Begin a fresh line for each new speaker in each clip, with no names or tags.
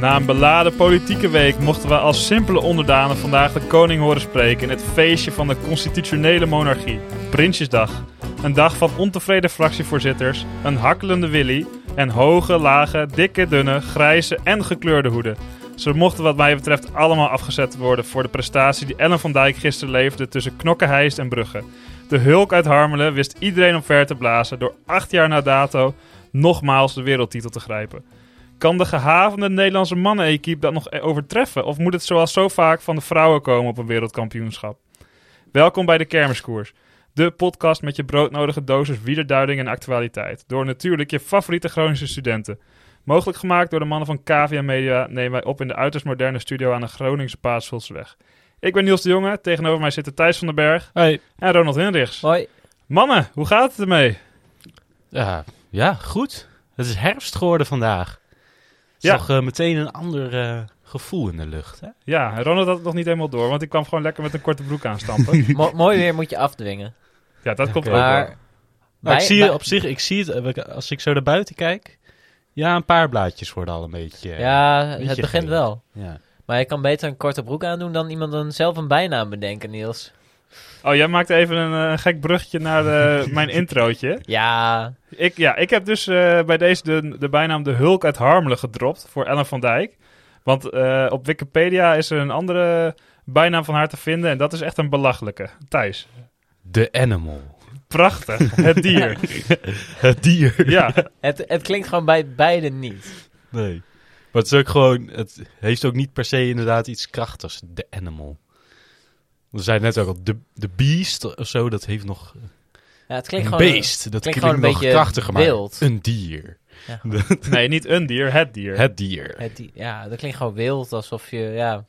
Na een beladen politieke week mochten we als simpele onderdanen vandaag de koning horen spreken in het feestje van de constitutionele monarchie, Prinsjesdag. Een dag van ontevreden fractievoorzitters, een hakkelende Willy en hoge, lage, dikke, dunne, grijze en gekleurde hoeden. Ze mochten wat mij betreft allemaal afgezet worden voor de prestatie die Ellen van Dijk gisteren leverde tussen Knokkenheist en Brugge. De hulk uit Harmelen wist iedereen omver te blazen door acht jaar na dato nogmaals de wereldtitel te grijpen. Kan de gehavende Nederlandse mannen-equipe dat nog overtreffen? Of moet het zoals zo vaak van de vrouwen komen op een wereldkampioenschap? Welkom bij de Kermiskoers. De podcast met je broodnodige dosis wiederduiding en actualiteit. Door natuurlijk je favoriete Groningse studenten. Mogelijk gemaakt door de mannen van KVM Media nemen wij op in de uiterst moderne studio aan de Groningse Paasvolsweg. Ik ben Niels de Jonge, tegenover mij zitten Thijs van den Berg
Hey.
en Ronald Hinrichs.
Hoi.
Mannen, hoe gaat het ermee?
Ja, ja, goed. Het is herfst geworden vandaag. Het is
Ja.
toch eh, meteen een ander eh, gevoel in de lucht, hè?
Ja, Ronald had het nog niet helemaal door, want ik kwam gewoon lekker met een korte broek aanstampen.
Mo- mooi weer moet je afdwingen.
ja, dat komt ook wel.
Maar
Nou, ik
Wij-
zie
wij-
op zich, ik zie het, eh, ik- als ik zo naar buiten kijk, ja, een paar blaadjes worden al een beetje... eh,
ja,
beetje
het begint
geel.
wel.
ja.
Maar je kan beter een korte broek aandoen dan iemand een, zelf een bijnaam bedenken, Niels.
Oh, jij maakt even een eh, gek bruggetje naar eh, mijn introotje.
Ja,
Ik, ja, ik heb dus eh, bij deze de, de bijnaam de Hulk uit Harmelen gedropt voor Ellen van Dijk. Want eh, op Wikipedia is er een andere bijnaam van haar te vinden en dat is echt een belachelijke. Thijs.
The animal.
Prachtig. Het dier.
Het dier.
ja.
het, het klinkt gewoon bij beide niet.
Nee. Maar het is ook gewoon, het heeft ook niet per se inderdaad iets krachtigs, the animal. We zeiden net ook al, the, the beast of zo, dat heeft nog...
Ja, het klinkt
Een
gewoon...
beest, dat
klinkt
klinkt,
gewoon een
nog
beetje
krachtiger, maar
wild.
een dier.
Ja.
Nee, niet een dier, het dier.
Het dier.
Het, die- ja, dat klinkt gewoon wild, alsof je... Ja.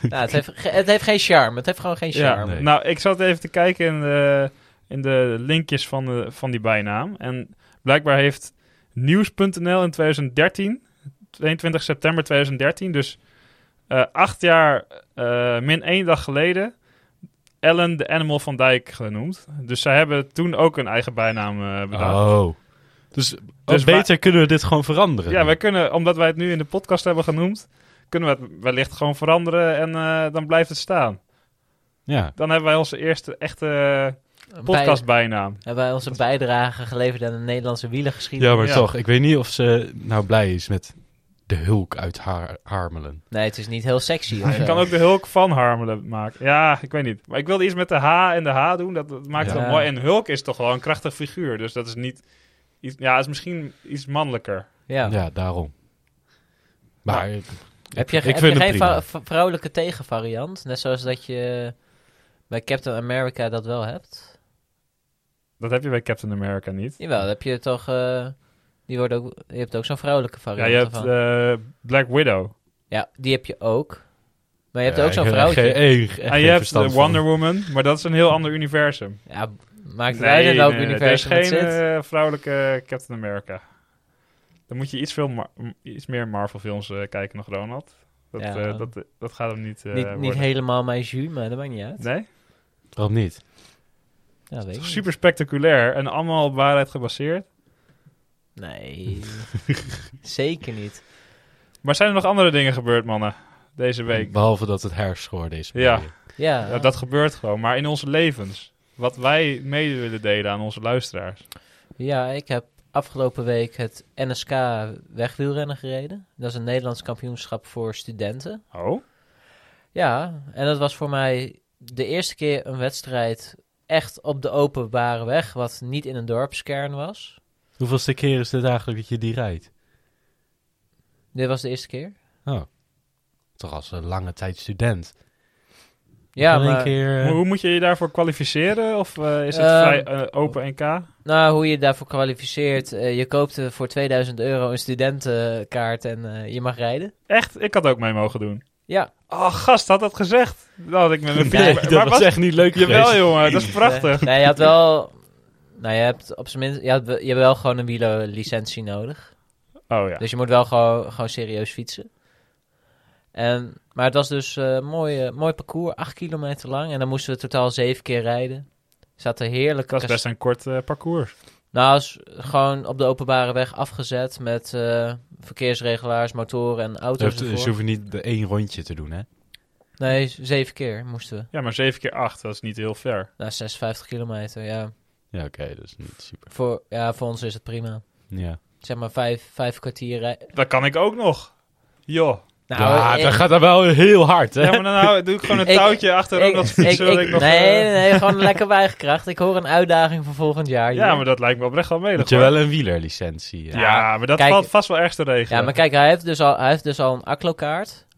Nou, het, heeft, ge- het heeft geen charme. Het heeft gewoon geen
Ja,
charme.
nee.
nou, ik zat even te kijken in de, in de linkjes van, de, van die bijnaam. En blijkbaar heeft nieuws.nl in 2013, 22 september 2013, dus eh, acht jaar eh, min één dag geleden, Ellen de Animal van Dijk genoemd. Dus zij hebben toen ook een eigen bijnaam eh, bedacht.
Oh. Dus,
Dus
beter kunnen we dit gewoon veranderen.
Ja, wij kunnen, omdat wij het nu in de podcast hebben genoemd, kunnen we het wellicht gewoon veranderen en eh, dan blijft het staan.
Ja.
Dan hebben wij onze eerste echte
Bij-
eh, podcastbijnaam.
hebben wij onze bijdrage geleverd aan de Nederlandse wielergeschiedenis?
ja, maar
Ja.
toch. Ik weet niet of ze nou blij is met de hulk uit haar Harmelen.
Nee, het is niet heel sexy. of
Je
zo.
kan ook de Hulk van Harmelen maken. Ja, ik weet niet. Maar ik wilde iets met de H en de H doen. Dat, dat maakt het
Ja.
wel mooi. En Hulk is toch wel een krachtig figuur. Dus dat is niet... Iets, ja, is misschien iets mannelijker.
Ja.
Ja, daarom. Maar ik,
Heb je,
ik
heb
vind
je
het
geen
prima.
vrou- v- vrouwelijke tegenvariant? Net zoals dat je bij Captain America dat wel hebt.
Dat heb je bij Captain America niet.
Jawel, dan heb je toch... eh, die worden ook, je hebt ook zo'n vrouwelijke
Ja,
variant
je hebt
ervan.
eh, Black Widow.
ja, die heb je ook. Maar je hebt
Ja,
ook zo'n
ik heb
vrouwtje.
geen- eh, echt
en
geen
je hebt
verstand
de
van.
Wonder Woman. Maar dat is een heel ander universum.
ja, b- maakt het uit in welk universum
Er
het
is geen
zit.
eh, vrouwelijke Captain America. Dan moet je iets, veel mar- m- iets meer Marvel films eh, kijken nog, Ronald. Dat,
Ja.
eh, dat, dat gaat hem niet, eh,
niet, niet
worden.
helemaal mijn jus, maar dat maakt niet uit.
Nee?
Waarom niet?
Ja, weet ik niet.
Super spectaculair en allemaal op waarheid gebaseerd.
Nee, zeker niet.
Maar zijn er nog andere dingen gebeurd, mannen, deze week?
Behalve dat het herfst geworden is.
Ja.
bedoel je.
Ja,
Ja, dat gebeurt gewoon, maar in onze levens. Wat wij mede willen delen aan onze luisteraars.
Ja, ik heb afgelopen week het NSK wegwielrennen gereden. Dat is een Nederlands kampioenschap voor studenten.
Oh?
Ja, en dat was voor mij de eerste keer een wedstrijd echt op de openbare weg, wat niet in een dorpskern was.
Hoeveelste keer is dit eigenlijk dat je die rijdt?
Dit was de eerste keer.
Toch als een lange tijd student.
Ja,
Wel een
maar
keer, eh,
hoe moet je je daarvoor kwalificeren? Of eh, is het
Ehm,
vrij eh, open NK?
nou, hoe je daarvoor kwalificeert, eh, je koopt eh, voor 2000 euro een studentenkaart en eh, je mag rijden.
Echt? Ik had ook mee mogen doen.
Ja,
Oh, gast, had dat gezegd. Dat had ik met mijn
Nee,
fiets-
dat
maar
was echt niet leuk geweest.
Jawel, jongen, dat is prachtig.
Eh, Nee, nee, je had wel... Nou, je hebt op zijn minst... Je, had, je hebt wel gewoon een wielerlicentie nodig.
Oh ja.
Dus je moet wel gewoon, gewoon serieus fietsen. En, maar het was dus een mooi, eh, mooi parcours, acht kilometer lang. En dan moesten we totaal zeven keer rijden. Er zaten heerlijke...
Dat is best een kort eh, parcours.
Nou, is gewoon op de openbare weg afgezet met eh, verkeersregelaars, motoren en auto's
Dus je
ervoor.
hoeft niet de één rondje te doen, hè?
Nee, z- zeven keer moesten we.
Ja, maar 7 keer 8, dat is niet heel ver.
Nou, 56 kilometer, ja.
Ja, oké, dat is niet super.
Voor, ja, voor ons is het prima.
Ja.
Zeg maar vijf, vijf kwartier rijden.
Dat kan ik ook nog. Joh.
Nou,
ja,
ik-
dat gaat dan wel heel hard, hè?
Ja, maar dan hou- doe ik gewoon een
Ik-
touwtje achter ook dat fietsen. dat ik nog,
nee,
eh,
nee, nee, gewoon lekker bijgekracht. Ik hoor een uitdaging voor volgend jaar.
ja,
hier.
maar dat lijkt me oprecht wel medig.
Moet je
hoor.
wel een wielerlicentie. eh. Ja.
Ja, maar dat
Kijk-
valt vast wel ergens te regelen.
ja, maar kijk, hij heeft dus al, hij heeft dus al een ACLO-kaart.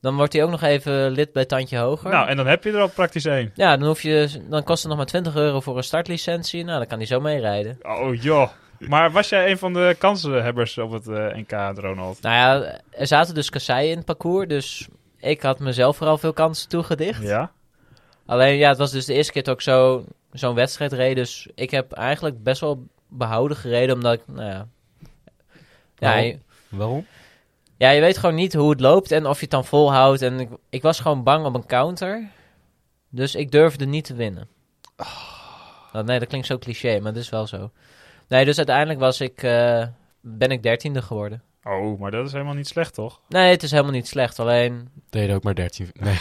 Dan wordt hij ook nog even lid bij Tandje Hoger.
Nou, en dan heb je er al praktisch één.
Ja, dan, hoef je, dan kost het nog maar 20 euro voor een startlicentie. Nou, dan kan hij zo meerijden.
Oh joh. Maar was jij een van de kansenhebbers op het eh, NK, Ronald?
Nou ja, er zaten dus kasseien in het parcours. Dus ik had mezelf vooral veel kansen toegedicht.
Ja?
Alleen ja, het was dus de eerste keer dat ik zo, zo'n wedstrijd reed. Dus ik heb eigenlijk best wel behouden gereden. Omdat ik, nou ja... Ja,
Waarom?
je-
Waarom?
Ja, je weet gewoon niet hoe het loopt en of je het dan volhoudt. En ik, ik was gewoon bang op een counter. Dus ik durfde niet te winnen. Nou, nee, dat klinkt zo cliché, maar dat is wel zo. Nee, dus uiteindelijk was ik, eh, ben ik dertiende geworden.
Oh, maar dat is helemaal niet slecht, toch?
Nee, het is helemaal niet slecht. Alleen,
Deed ook maar 13. Nee.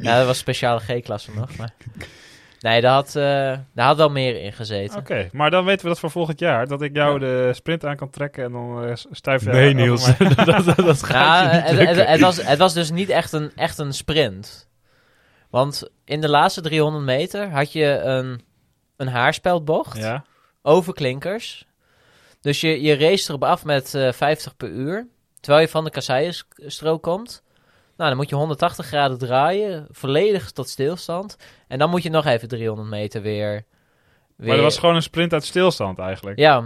ja, dat was speciale G-klasse nog. Maar... Nee, daar had, eh, daar had wel meer in gezeten.
Oké, maar dan weten we dat voor volgend jaar. Dat ik jou de sprint aan kan trekken en dan eh, stuif jij...
nee,
over mij.
Niels. dat, dat, dat gaat
Ja,
je niet
het,
lukken.
het, het was, het was dus niet echt een, echt een sprint. Want in de laatste 300 meter had je een, een haarspeldbocht
Ja?
over klinkers. Dus je, je race erop af met eh, 50 per uur. Terwijl je van de kasseienstrook komt. Nou, dan moet je 180 graden draaien. Volledig tot stilstand. En dan moet je nog even 300 meter weer. weer
Maar dat was gewoon een sprint uit stilstand eigenlijk.
Ja,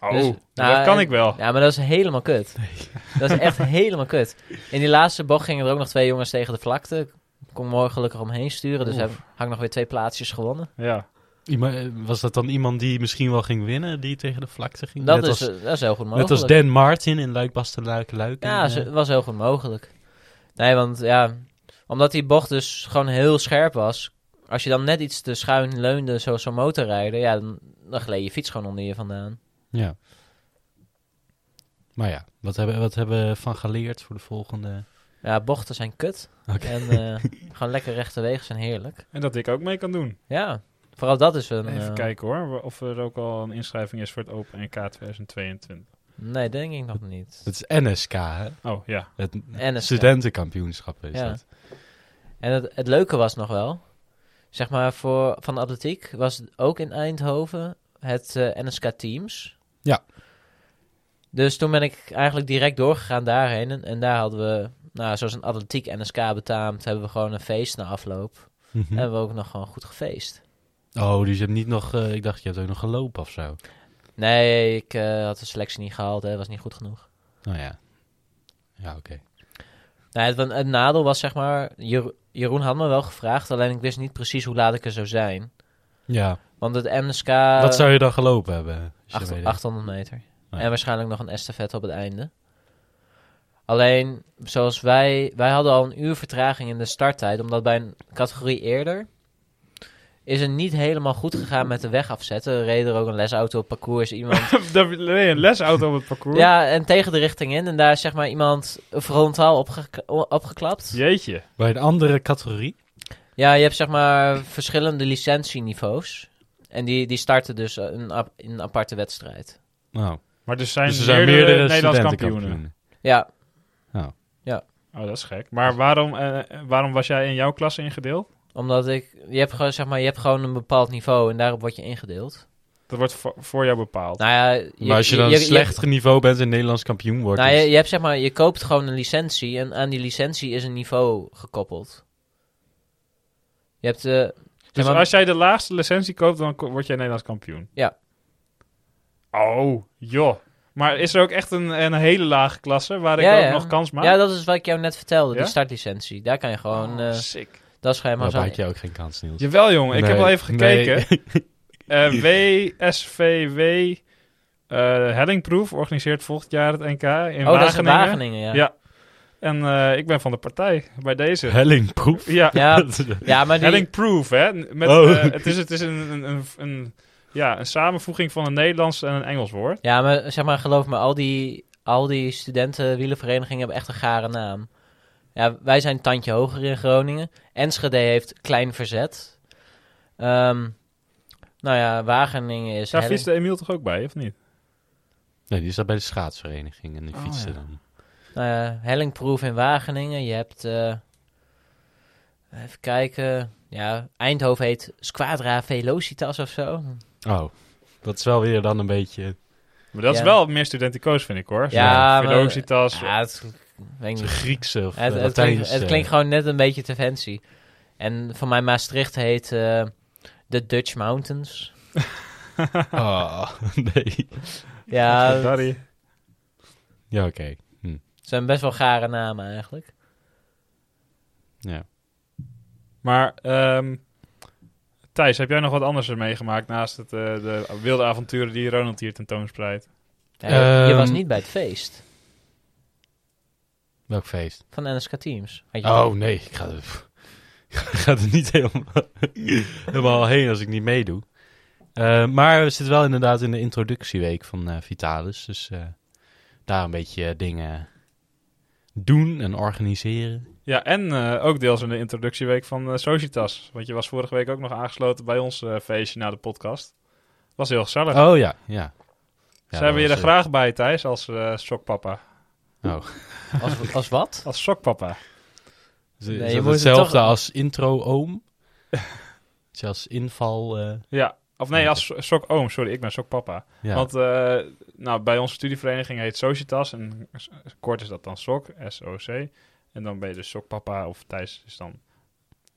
Oh,
Dus-
dat
nou,
kan
en-
ik wel.
ja, maar dat is helemaal kut. Dat is echt helemaal kut. In die laatste bocht gingen er ook nog twee jongens tegen de vlakte. Ik kon mooi gelukkig omheen sturen. Dus
Oef.
heb, had ik nog weer twee plaatsjes gewonnen.
Ja.
Iemand- eh, Was dat dan iemand die misschien wel ging winnen, die tegen de vlakte ging?
Dat,
net
is,
als,
eh, dat is heel goed mogelijk.
net als Dan Martin in Luik, Basten, Luik, Luik.
Ja,
En,
ze-
eh,
was heel goed mogelijk. Nee, want ja, omdat die bocht dus gewoon heel scherp was. Als je dan net iets te schuin leunde, zoals zo'n motorrijder, ja, dan, dan gleed je fiets gewoon onder je vandaan.
ja. Maar ja, wat hebben, wat hebben we van geleerd voor de volgende...
Ja, bochten zijn kut.
Oké.
En eh, gewoon lekker rechte wegen zijn heerlijk.
En dat ik ook mee kan doen.
Ja, vooral dat is een...
Even
eh,
kijken hoor, of er ook al een inschrijving is voor het Open NK 2022.
Nee, denk ik nog niet.
Het is NSK, hè?
Oh ja.
Het
NSK.
studentenkampioenschap is
Ja.
dat.
En het, het leuke was nog wel, zeg maar voor, van de atletiek was het ook in Eindhoven het eh, NSK Teams.
Ja.
Dus toen ben ik eigenlijk direct doorgegaan daarheen. En, en daar hadden we, nou, zoals een atletiek NSK betaamt, hebben we gewoon een feest na afloop.
Hm.
En hebben we ook nog gewoon goed gefeest.
Mhm. Oh, dus je hebt niet nog... eh, ik dacht, je hebt ook nog gelopen of zo.
Nee, ik eh, had de selectie niet gehaald, hè, was niet goed genoeg.
Nou ja. Ja, oké.
Nou, het, het nadeel was zeg maar, Jero- Jeroen had me wel gevraagd, alleen ik wist niet precies hoe laat ik er zou zijn.
Ja,
Want het NSK...
wat zou je dan gelopen hebben? als Dus je
Eh, Acht-
weet het?
800 meter.
ja.
En waarschijnlijk nog een estafette op het einde. Alleen, zoals wij... Wij hadden al een uur vertraging in de starttijd... omdat bij een categorie eerder... is het niet helemaal goed gegaan met de weg afzetten. Er reed er ook een lesauto op parcours iemand...
Daar reed een lesauto op het parcours.
ja, en tegen de richting in. En daar is zeg maar iemand frontaal opge- opgeklapt.
Jeetje.
Bij een andere categorie?
Ja, je hebt zeg maar verschillende licentieniveaus. En die, die starten dus een, ap- in een aparte wedstrijd.
Nou,
Maar er zijn,
dus er zijn
meerdere,
meerdere
Nederlands kampioenen.
studentenkampioenen.
Ja,
Oh, dat is gek. Maar waarom, eh, waarom was jij in jouw klasse ingedeeld?
Omdat ik, je hebt gewoon, zeg maar, je hebt gewoon een bepaald niveau en daarop word je ingedeeld.
Dat wordt voor, voor jou bepaald.
Nou ja, je,
Maar als je dan een slecht niveau bent en Nederlands kampioen wordt...
nou,
is-
je, je hebt zeg maar, je koopt gewoon een licentie en aan die licentie is een niveau gekoppeld. Je hebt, eh,
dus
zeg maar,
als jij de laagste licentie koopt, dan ko- word jij Nederlands kampioen?
Ja.
Oh, joh. Maar is er ook echt een, een hele lage klasse waar ik
Ja,
ook
ja.
nog kans maak?
ja, dat is wat ik jou net vertelde,
Ja? Ah.
die startlicentie. Daar kan je gewoon, eh
Oh, Sick.
dat is gewoon
Daar
helemaal
maak
zo.
je ook geen kans, Niels.
Jawel, jongen. Ik heb
Nee,
al even
nee.
gekeken. Eh WSVW Eh Hellingproef organiseert volgend jaar het NK in Wageningen.
oh, dat is in Wageningen, ja.
Ja.
Ja,
En eh, ik ben van de partij bij deze.
Hellingproef.
ja,
ja. maar die...
Hellingproof, hè? Met,
Oh.
eh, het is, het is een, een, een, een- ja, een samenvoeging van een Nederlands en een Engels woord.
Ja, maar zeg maar, geloof me, al die, al die studentenwielenverenigingen hebben echt een gare naam. Ja, wij zijn een tandje hoger in Groningen. Enschede heeft Klein Verzet. Ehm, nou ja, Wageningen is...
Daar
Helling-
fietste Emiel toch ook bij, of niet?
Nee, die zat bij de schaatsvereniging en die
Oh,
fietste
ja.
dan.
Nou ja, Hellingproef in Wageningen. Je hebt... eh, even kijken... Ja, Eindhoven heet Squadra Velocitas of zo.
Oh, dat is wel weer dan een beetje...
Maar dat
Ja.
is wel meer studentenkoos, vind ik hoor.
Ja,
Zo'n
maar-
Velocitas.
Ja, het, weet ik
Zo'n
niet.
Griekse of
Het,
eh,
het klinkt,
Latijnse.
het klinkt gewoon net een beetje te fancy. En van mij Maastricht heet eh, de Dutch Mountains.
Ah, nee.
Ja, het
Sorry.
Ja, oké.
zijn best wel gare namen eigenlijk.
Ja.
Maar ehm, Thijs, heb jij nog wat anders er meegemaakt naast het, eh, de wilde avonturen die Ronald hier tentoonspreidt?
Ja, je- je
Ehm.
was niet bij het feest
Welk feest?
van NSK Teams. Had je
Oh, nee. Ik ga er, pff, ik ga er niet helemaal, helemaal heen als ik niet meedoe. Eh, maar we zitten wel inderdaad in de introductieweek van eh, Vitalis. Dus eh, daar een beetje eh, dingen doen en organiseren.
Ja, en eh, ook deels in de introductieweek van eh, Societas. Want je was vorige week ook nog aangesloten bij ons eh, feestje na de podcast. Was heel gezellig.
Oh ja, ja.
Ze hebben je er
dat eh, was,
graag bij, Thijs, als eh sokpapa.
oh.
als, als wat?
Als sokpapa.
eh, is
Nee,
dat
je moet het
hetzelfde
toch-
als intro-oom? Zelfs inval... eh,
Ja. Of nee, als so- sokoom. Sorry, ik ben sokpapa.
ja.
Want eh, nou, bij onze studievereniging heet Societas. En s- kort is dat dan SOC, S-O-C. En dan ben je dus sokpapa of Thijs is dan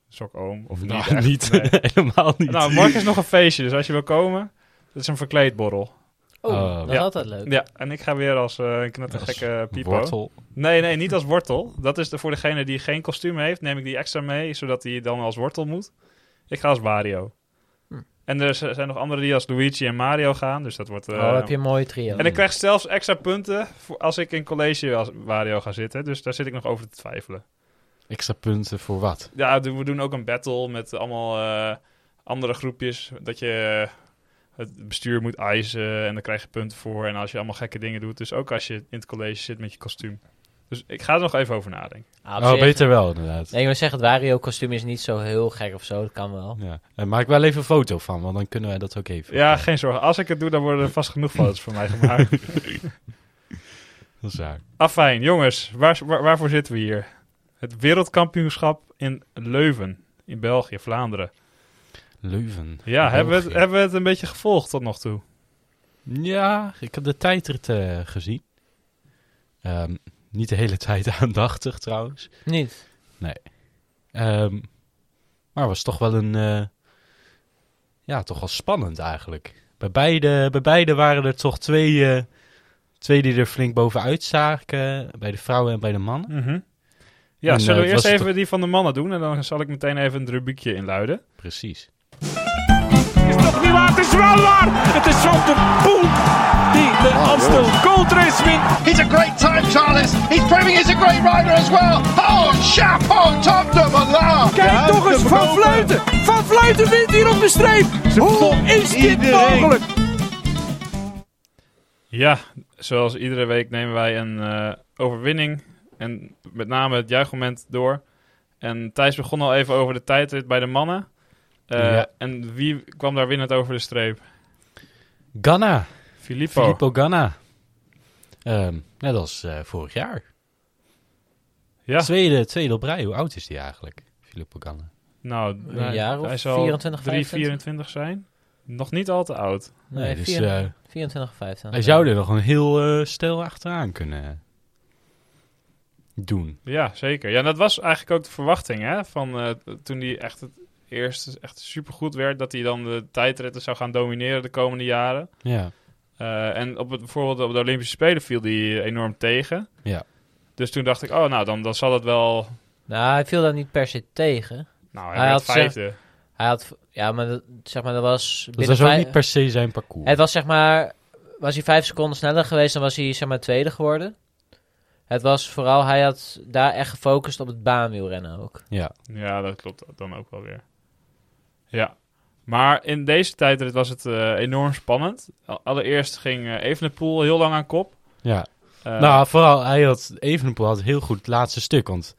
sokoom. Of
Nou,
niet. echt,
niet.
nee.
helemaal niet.
nou, morgen is nog een feestje, dus als je wil komen, dat is een verkleedborrel.
Oh,
Oh.
dat is
Ja.
altijd leuk.
Ja, en ik ga weer als eh, een knettergekke pipo.
Wortel.
Nee, nee, niet als wortel. Dat is de, voor degene die geen kostuum heeft, neem ik die extra mee, zodat hij dan als wortel moet. Ik ga als Wario.
Hm.
En er z- zijn nog anderen die als Luigi en Mario gaan, dus dat wordt... eh,
Oh, heb je een mooie trio.
En ik krijg zelfs extra punten voor als ik in college als Wario ga zitten, dus daar zit ik nog over te twijfelen.
Extra punten voor wat?
Ja, do- we doen ook een battle met allemaal eh, andere groepjes, dat je eh, het bestuur moet eisen en daar krijg je punten voor. En als je allemaal gekke dingen doet, dus ook als je in het college zit met je kostuum. Dus ik ga er nog even over nadenken.
Ah, op
Oh,
zich-
beter wel inderdaad.
Nee, ik wil zeggen, het Wario-kostuum is niet zo heel gek of zo. Dat kan wel.
Ja. Eh, maak wel even een foto van, want dan kunnen wij dat ook even.
Ja, geen zorgen. Als ik het doe, dan worden er vast genoeg foto's van mij gemaakt.
Dat is waar.
Afijn, jongens, waar, waar- waarvoor zitten we hier? Het wereldkampioenschap in Leuven, in België, Vlaanderen.
Leuven.
Ja, hebben we, het,
België.
hebben we het een beetje gevolgd tot nog toe?
Ja, ik heb de tijdrit eh, gezien. Ehm, niet de hele tijd aandachtig trouwens.
Niet.
Ehm, maar was toch wel een. eh, ja, toch wel spannend eigenlijk. Bij beide, bij beide waren er toch twee, eh, twee die er flink bovenuit zaken. Bij de vrouwen en bij de mannen.
Mm-hmm. Ja,
Mhm. En,
zullen we
eh,
eerst
het was
even die van de mannen doen en dan zal ik meteen even een rubriekje inluiden.
Precies.
is toch niet waar? Het is wel waar! Het is Van de Poel die de Amstel Gold Race wint.
He's a great time, Charles. He's proving he's a great rider as well. Oh, chapeau, Tom de Moulin.
Kijk toch eens, Van Vleuten! Van Vleuten wint hier op de streep! Hoe is dit mogelijk?
Ja, zoals iedere week nemen wij een eh, overwinning en met name het juichmoment door. En Thijs begon al even over de tijdrit bij de mannen. Eh,
Ja.
En wie kwam daar winnend over de streep? Oh.
Ghana.
Filippo.
Filippo Ganna. Ehm, net als eh, vorig jaar.
Ja,
Tweede, tweede op rij. Hoe oud is die eigenlijk? Filippo Ganna.
nou, hij-
jaar of
hij zal
24,
3,
25?
24 zijn. Nog niet al te oud.
Nee,
dus
vier-
eh,
24 of 25.
hij zou er nog een heel eh, stel achteraan kunnen doen.
Ja, zeker. Ja, dat was eigenlijk ook de verwachting, hè? Van eh, t- toen hij echt het eerst echt supergoed werd, dat hij dan de tijdritten zou gaan domineren de komende jaren.
Ja.
Eh, en op het, bijvoorbeeld op de Olympische Spelen viel hij enorm tegen.
Ja.
Dus toen dacht ik, oh, nou, dan, dan zal het wel...
Nou, hij viel daar niet per se tegen.
Nou, hij,
Hij
werd
had ze-
vijfde.
Hij had... Ja, maar dat, zeg maar, dat was...
Dat
binnen
was ook
vijf-
niet per se zijn parcours.
Het was zeg maar was hij vijf seconden sneller geweest, dan was hij zeg maar tweede geworden. Het was vooral, hij had daar echt gefocust op het baanwielrennen ook.
Ja.
Ja, dat klopt dan ook wel weer. Ja. Maar in deze tijdrit was het eh, enorm spannend. Al- Allereerst ging eh, Evenepoel heel lang aan kop.
ja.
Eh,
nou, vooral hij had, Evenepoel had heel goed het laatste stuk. Want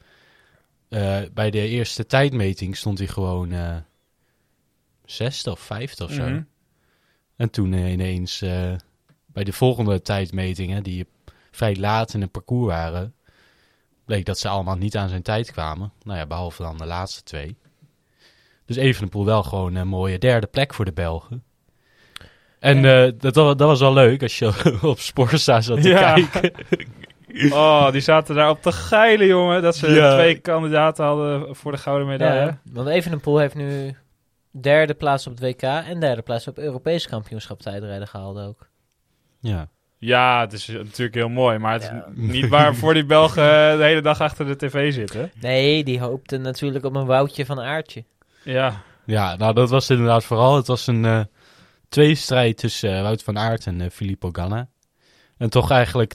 eh, bij de eerste tijdmeting stond hij gewoon eh zesde of vijfde of zo.
mhm.
En toen eh, ineens eh, bij de volgende tijdmetingen, die vrij laat in het parcours waren, bleek dat ze allemaal niet aan zijn tijd kwamen. Nou ja, behalve dan de laatste twee. Dus Evenepoel wel gewoon een mooie derde plek voor de Belgen. En eh, dat, wa- dat was wel leuk als je op Sporza zat te
Ja.
kijken.
Oh, die zaten daar op te geilen, jongen. Dat ze
Ja.
twee kandidaten hadden voor de gouden medaille.
Ja, want Evenepoel heeft nu derde plaats op het WK en derde plaats op het Europees kampioenschap tijdrijden gehaald ook.
Ja.
Ja, het is natuurlijk heel mooi, maar het is
Ja.
n- niet waarvoor die Belgen eh, de hele dag achter de tv zitten.
Nee, die hoopte natuurlijk op een Woutje van Aartje.
Ja,
ja, nou dat was het inderdaad vooral. Het was een eh tweestrijd tussen eh, Wout van Aert en eh, Filippo Ganna. En toch eigenlijk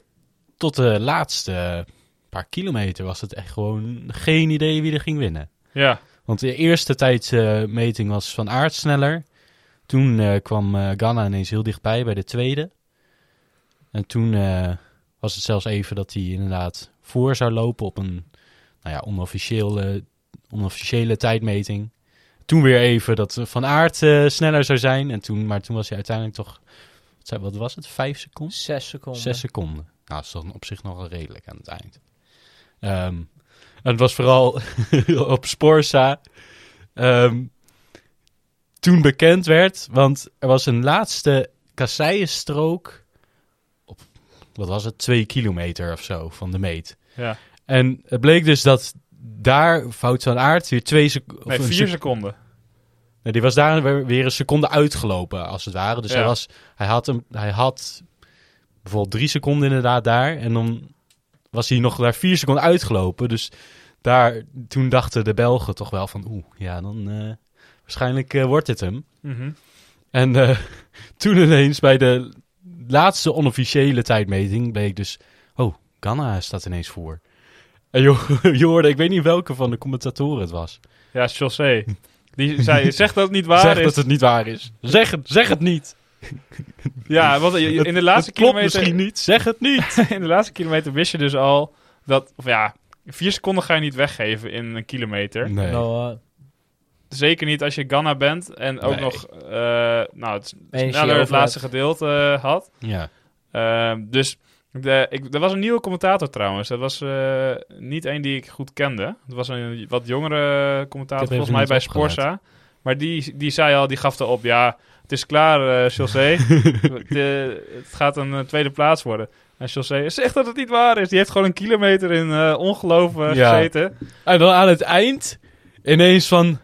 tot de laatste eh, paar kilometer was het echt gewoon geen idee wie er ging winnen.
ja.
Want de eerste tijdmeting was van Aert sneller. Toen eh, kwam eh Ganna ineens heel dichtbij bij de tweede. En toen eh, was het zelfs even dat hij inderdaad voor zou lopen op een nou ja, onofficiële, onofficiële tijdmeting. Toen weer even dat Van Aert eh, sneller zou zijn. En toen, maar toen was hij uiteindelijk toch, wat zei- wat was het, vijf seconden?
Zes seconden.
Zes seconden. Nou, dat is dan op zich nogal redelijk aan het eind. Ehm, en het was vooral op Sporza. ehm, toen bekend werd, want er was een laatste kasseienstrook op, wat was het, twee kilometer of zo van de meet.
ja.
En het bleek dus dat daar Fout van Aert weer twee seconden...
Nee, vier seconden.
Nee, die was daar weer- weer een seconde uitgelopen, als het ware. Dus
Ja.
hij, was, hij, had hem, hij had bijvoorbeeld drie seconden inderdaad daar. En dan was hij nog daar vier seconden uitgelopen. Dus daar, toen dachten de Belgen toch wel van... Oeh, ja, dan eh, waarschijnlijk eh, wordt dit hem.
Mhm.
En eh, toen ineens bij de laatste onofficiële tijdmeting bleek dus... Oh, Ghana staat ineens voor. En je, je hoorde, ik weet niet welke van de commentatoren het was.
Ja, José. Die zei, zeg dat het niet waar
zeg
is.
dat het niet waar is. Zeg het, zeg het niet.
Ja, want je- in de laatste
het klopt
kilometer...
misschien niet, zeg het niet.
in de laatste kilometer wist je dus al dat, of ja, vier seconden ga je niet weggeven in een kilometer.
Nee.
Nou, eh,
Zeker niet als je Ghana bent en ook
Nee.
nog, eh, nou, het
Energie
sneller het
overlaat.
laatste gedeelte eh, had.
Ja.
Ehm, dus de, ik, er was een nieuwe commentator trouwens. Dat was eh, niet één die ik goed kende. Het was een wat jongere commentator,
Ik heb
volgens
even
mij bij
niet opgelet.
Sporza. Maar die, die zei al, die gaf erop, ja, het is klaar, eh José. De- het gaat een eh, tweede plaats worden. En José zegt dat het niet waar is. Die heeft gewoon een kilometer in eh, ongeloof eh,
Ja.
gezeten.
En dan aan het eind ineens van...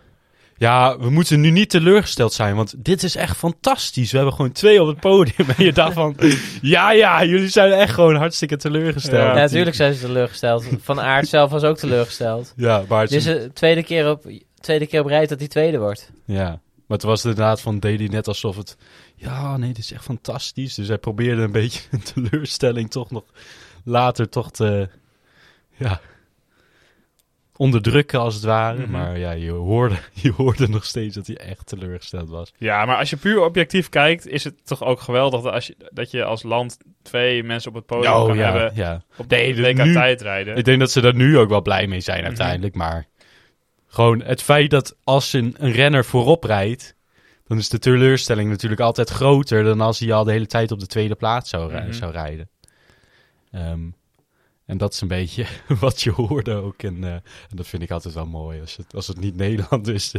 Ja, we moeten nu niet teleurgesteld zijn, want dit is echt fantastisch. We hebben gewoon twee op het podium. En je dacht van, ja, ja, jullie zijn echt gewoon hartstikke teleurgesteld.
Ja,
ja, natuurlijk zijn ze teleurgesteld. Van Aert zelf was ook teleurgesteld.
Ja, maar het,
Dit is de tweede keer op, tweede keer op rij dat hij tweede wordt.
ja, maar het was inderdaad van, deed hij net alsof het... Ja, nee, dit is echt fantastisch. Dus hij probeerde een beetje een teleurstelling toch nog later toch te... Ja, onderdrukken als het ware.
Mhm.
Maar ja, je hoorde, je hoorde nog steeds dat hij echt teleurgesteld was.
Ja, maar als je puur objectief kijkt, is het toch ook geweldig dat, als je, dat je als land twee mensen op het podium Oh, kan
Oh ja,
hebben
ja.
op
Nee,
de
dus
WK
nu-
tijdrijden.
Ik denk dat ze daar nu ook wel blij mee
Mhm.
zijn uiteindelijk. Maar gewoon het feit dat als een, een renner voorop rijdt... dan is de teleurstelling natuurlijk altijd groter... dan als hij al de hele tijd op de tweede plaats zou, rij-
Mhm.
zou rijden. Ehm, en dat is een beetje wat je hoorde ook. En, eh, en dat vind ik altijd wel mooi als het, als het niet Nederland is.